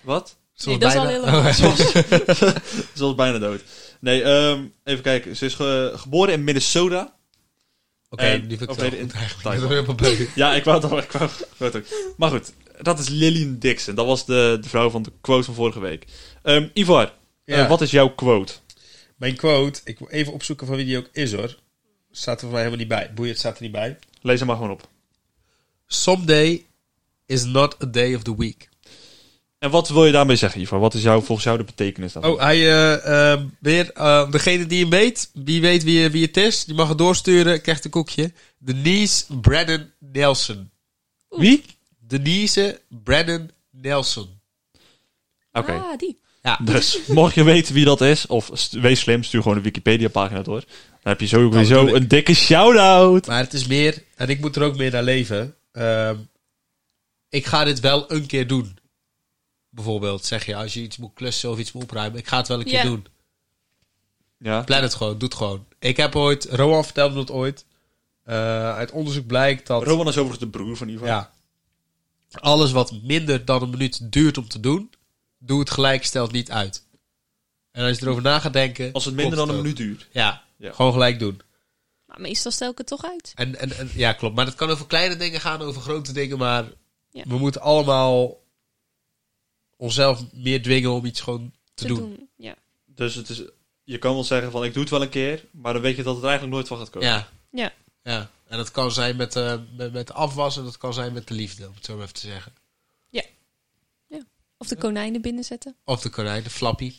B: Wat?
A: Ze
C: Nee,
A: was
C: dat is al
A: bijna-
C: heel lang.
A: Oh,
B: Ze was, ze was bijna dood. Nee, ehm, even kijken. Ze is ge- geboren in Minnesota.
A: Oké,
B: En
A: die vind ik wel
B: overleden
A: goed
B: in
A: eigenlijk.
B: Taiwan.
A: Dat is wel heel leuk.
B: Ja, ik wou het al. Ik wou, ik wou het ook. Maar goed, dat is Lillian Dixon. Dat was de, de vrouw van de quote van vorige week. Ehm, Ivar, eh,
A: Ja.
B: wat is jouw quote?
A: Mijn quote, ik wil even opzoeken van wie die ook is hoor. Staat er voor mij helemaal niet bij. Boeien, het staat er niet bij.
B: Lees hem maar gewoon op.
A: Someday is not a day of the week.
B: En wat wil je daarmee zeggen, Ivar? Wat is jouw, volgens jou de betekenis daarvan?
A: Oh, hij eh, eh, weer, eh, degene die hem weet, wie weet wie, wie het is, die mag het doorsturen, krijgt een koekje. Denise Brennan Nelson. Oh.
B: Wie?
A: Denise Brennan Nelson.
B: Oké.
C: Ah, die.
B: Dus, mocht je weten wie dat is, of st- wees slim, stuur gewoon een Wikipedia-pagina door. Dan heb je sowieso
A: bedoel ik.
B: een dikke shout-out.
A: Maar het is meer, en ik moet er ook meer naar leven. ehm, ik ga dit wel een keer doen. Bijvoorbeeld, zeg je, als je iets moet klussen of iets moet opruimen, ik ga het wel een
C: Ja.
A: keer doen.
B: Ja.
A: Plan het gewoon, doe het gewoon. Ik heb ooit, Roan vertelde dat ooit. Eh, uit onderzoek blijkt dat.
B: Roman is overigens de broer van Ivar.
A: Ja. Alles wat minder dan een minuut duurt om te doen, doe het gelijk, stel het niet uit. En als je erover na gaat denken.
B: Als het minder
A: klopt
B: dan een
A: ook.
B: minuut duurt.
A: Ja,
B: Ja.
A: gewoon gelijk doen.
C: Maar meestal stel ik het toch uit.
A: En, en, en- ja, klopt. Maar het kan over kleine dingen gaan, over grote dingen. Maar
C: Ja.
A: we moeten allemaal onszelf meer dwingen om iets gewoon te, doen.
C: Ja.
B: Dus het is, je kan wel zeggen van, ik doe het wel een keer, maar dan weet je dat het eigenlijk nooit van gaat komen.
A: Ja.
C: Ja.
A: ja. En dat kan zijn met, eh met, met afwas en dat kan zijn met de liefde, om het zo maar even te zeggen.
C: Of de konijnen binnenzetten.
A: Of de konijn, de flappie.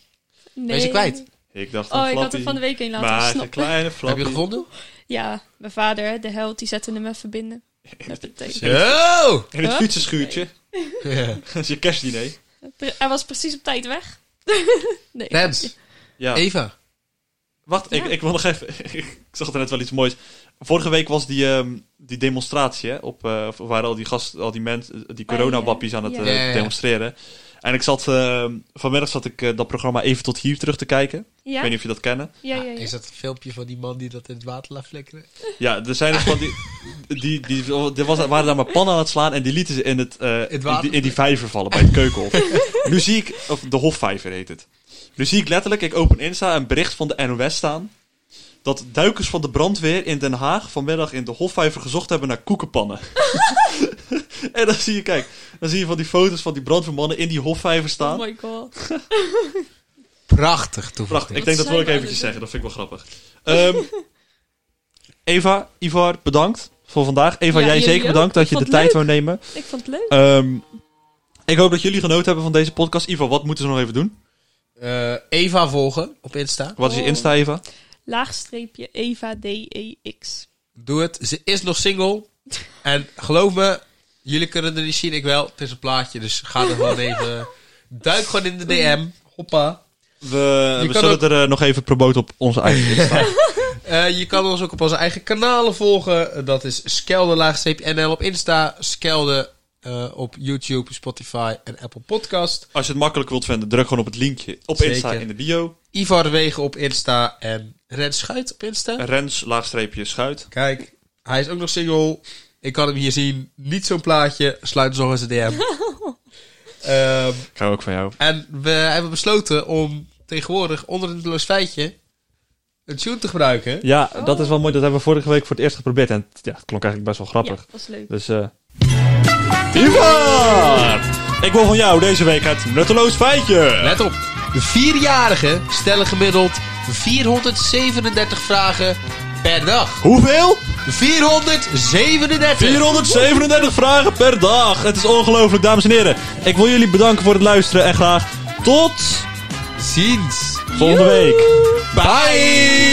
C: Nee.
A: Ben je ze kwijt?
B: Ik dacht
C: Oh,
B: een
C: ik had
B: flappie,
C: hem van de week heen laten
B: maar een
C: snappen.
B: kleine
A: Heb je
B: flappie.
A: gevonden?
C: Ja, mijn vader, hè, de held, die zette hem even binnen. Met de teken.
A: Zo!
B: In het
C: Huh?
B: fietsenschuurtje.
A: Ja.
B: Dat is je kerstdiner.
C: Pre- Hij was precies op tijd weg. nee.
A: Rens,
B: Ja.
A: Eva.
B: Wacht, ik,
C: Ja.
B: ik wil nog even. ik zag er net wel iets moois. Vorige week was die, ehm, die demonstratie, hè? Op, eh, waren al die gasten, al die mensen, die
C: Oh, ja.
B: coronawappies aan het
C: Ja.
B: eh,
A: Ja, ja, ja.
B: demonstreren. En ik zat, ehm, vanmiddag zat ik eh, dat programma even tot hier terug te kijken. Ik
C: Ja,
B: weet niet of je dat kennen.
C: ja, ja.
A: Ah,
C: ja.
A: Is dat een filmpje van die man die dat in het water laat flikkeren?
B: Ja, er zijn dus van die. Die, die, er was, waren daar maar pannen aan het slaan en die lieten ze in, het, eh, in,
A: water.
B: die, in die vijver vallen bij het keukenhof. nu zie ik, of de Hofvijver heet het. Nu zie ik letterlijk, ik open Insta, een bericht van de NOS staan. Dat duikers van de brandweer in Den Haag vanmiddag in de Hofvijver gezocht hebben naar koekenpannen. en dan zie je, kijk, dan zie je van die foto's van die brandweermannen in die Hofvijver staan.
C: Oh my god.
A: Prachtig
B: Prachtig,
A: toevoeging.
B: ik denk dat dus.
C: zijn
B: wil ik
C: we aan
B: eventjes
C: het
B: zeggen, dat vind ik wel grappig. Ehm, Eva, Ivar, bedankt voor vandaag. Eva,
C: Ja,
B: jij
C: jullie
B: zeker
C: ook.
B: bedankt dat
C: Ik
B: je de
C: vond het
B: tijd
C: leuk.
B: wou nemen.
C: Ik vond het leuk.
B: Ehm, ik hoop dat jullie genoten hebben van deze podcast. Ivar, wat moeten ze nog even doen?
A: Eh, Eva volgen op Insta.
B: Wat is je
C: Oh.
B: Insta, Eva?
C: Laagstreepje Eva E D-E-X.
A: Doe het. Ze is nog single. En geloof me, jullie kunnen er niet zien, ik wel. Het is een plaatje, dus ga er gewoon even... Duik gewoon in de DM. Hoppa.
B: We,
A: Je
B: we
A: kan
B: zullen
A: ook-
B: er eh, nog even promoten op onze eigen Insta.
A: Eh, je kan ons ook op onze eigen kanalen volgen. Eh, Dat is skelde-nl op Insta. Skelde eh, op YouTube, Spotify en Apple Podcast.
B: Als je het makkelijk wilt vinden, druk gewoon op het linkje op Insta
A: Zeker.
B: in de bio.
A: Ivar Wegen op Insta en Ren Schuit op Insta.
B: Rens, laagstreepje, schuit.
A: Kijk, hij is ook nog single. Ik kan hem hier zien. Niet zo'n plaatje. Sluit ons nog eens een DM. Ehm,
B: Ik hou ook van jou.
A: en we hebben besloten om tegenwoordig onder een bloos feitje een tune te gebruiken.
B: Ja,
C: Oh.
B: dat is wel mooi. Dat hebben we vorige week voor het eerst geprobeerd. En t- ja, het klonk eigenlijk best wel
C: Ja,
B: grappig.
C: dat was leuk.
B: Dus eh. Ivar! Ik wil van jou deze week het nutteloos feitje.
A: Let op. De vierjarigen stellen gemiddeld 437 vragen per dag.
B: Hoeveel?
A: 437!
B: 437 vragen per dag. Het is ongelooflijk, dames en heren. Ik wil jullie bedanken voor het luisteren en graag tot
A: Ziens.
B: volgende week.
A: Bye!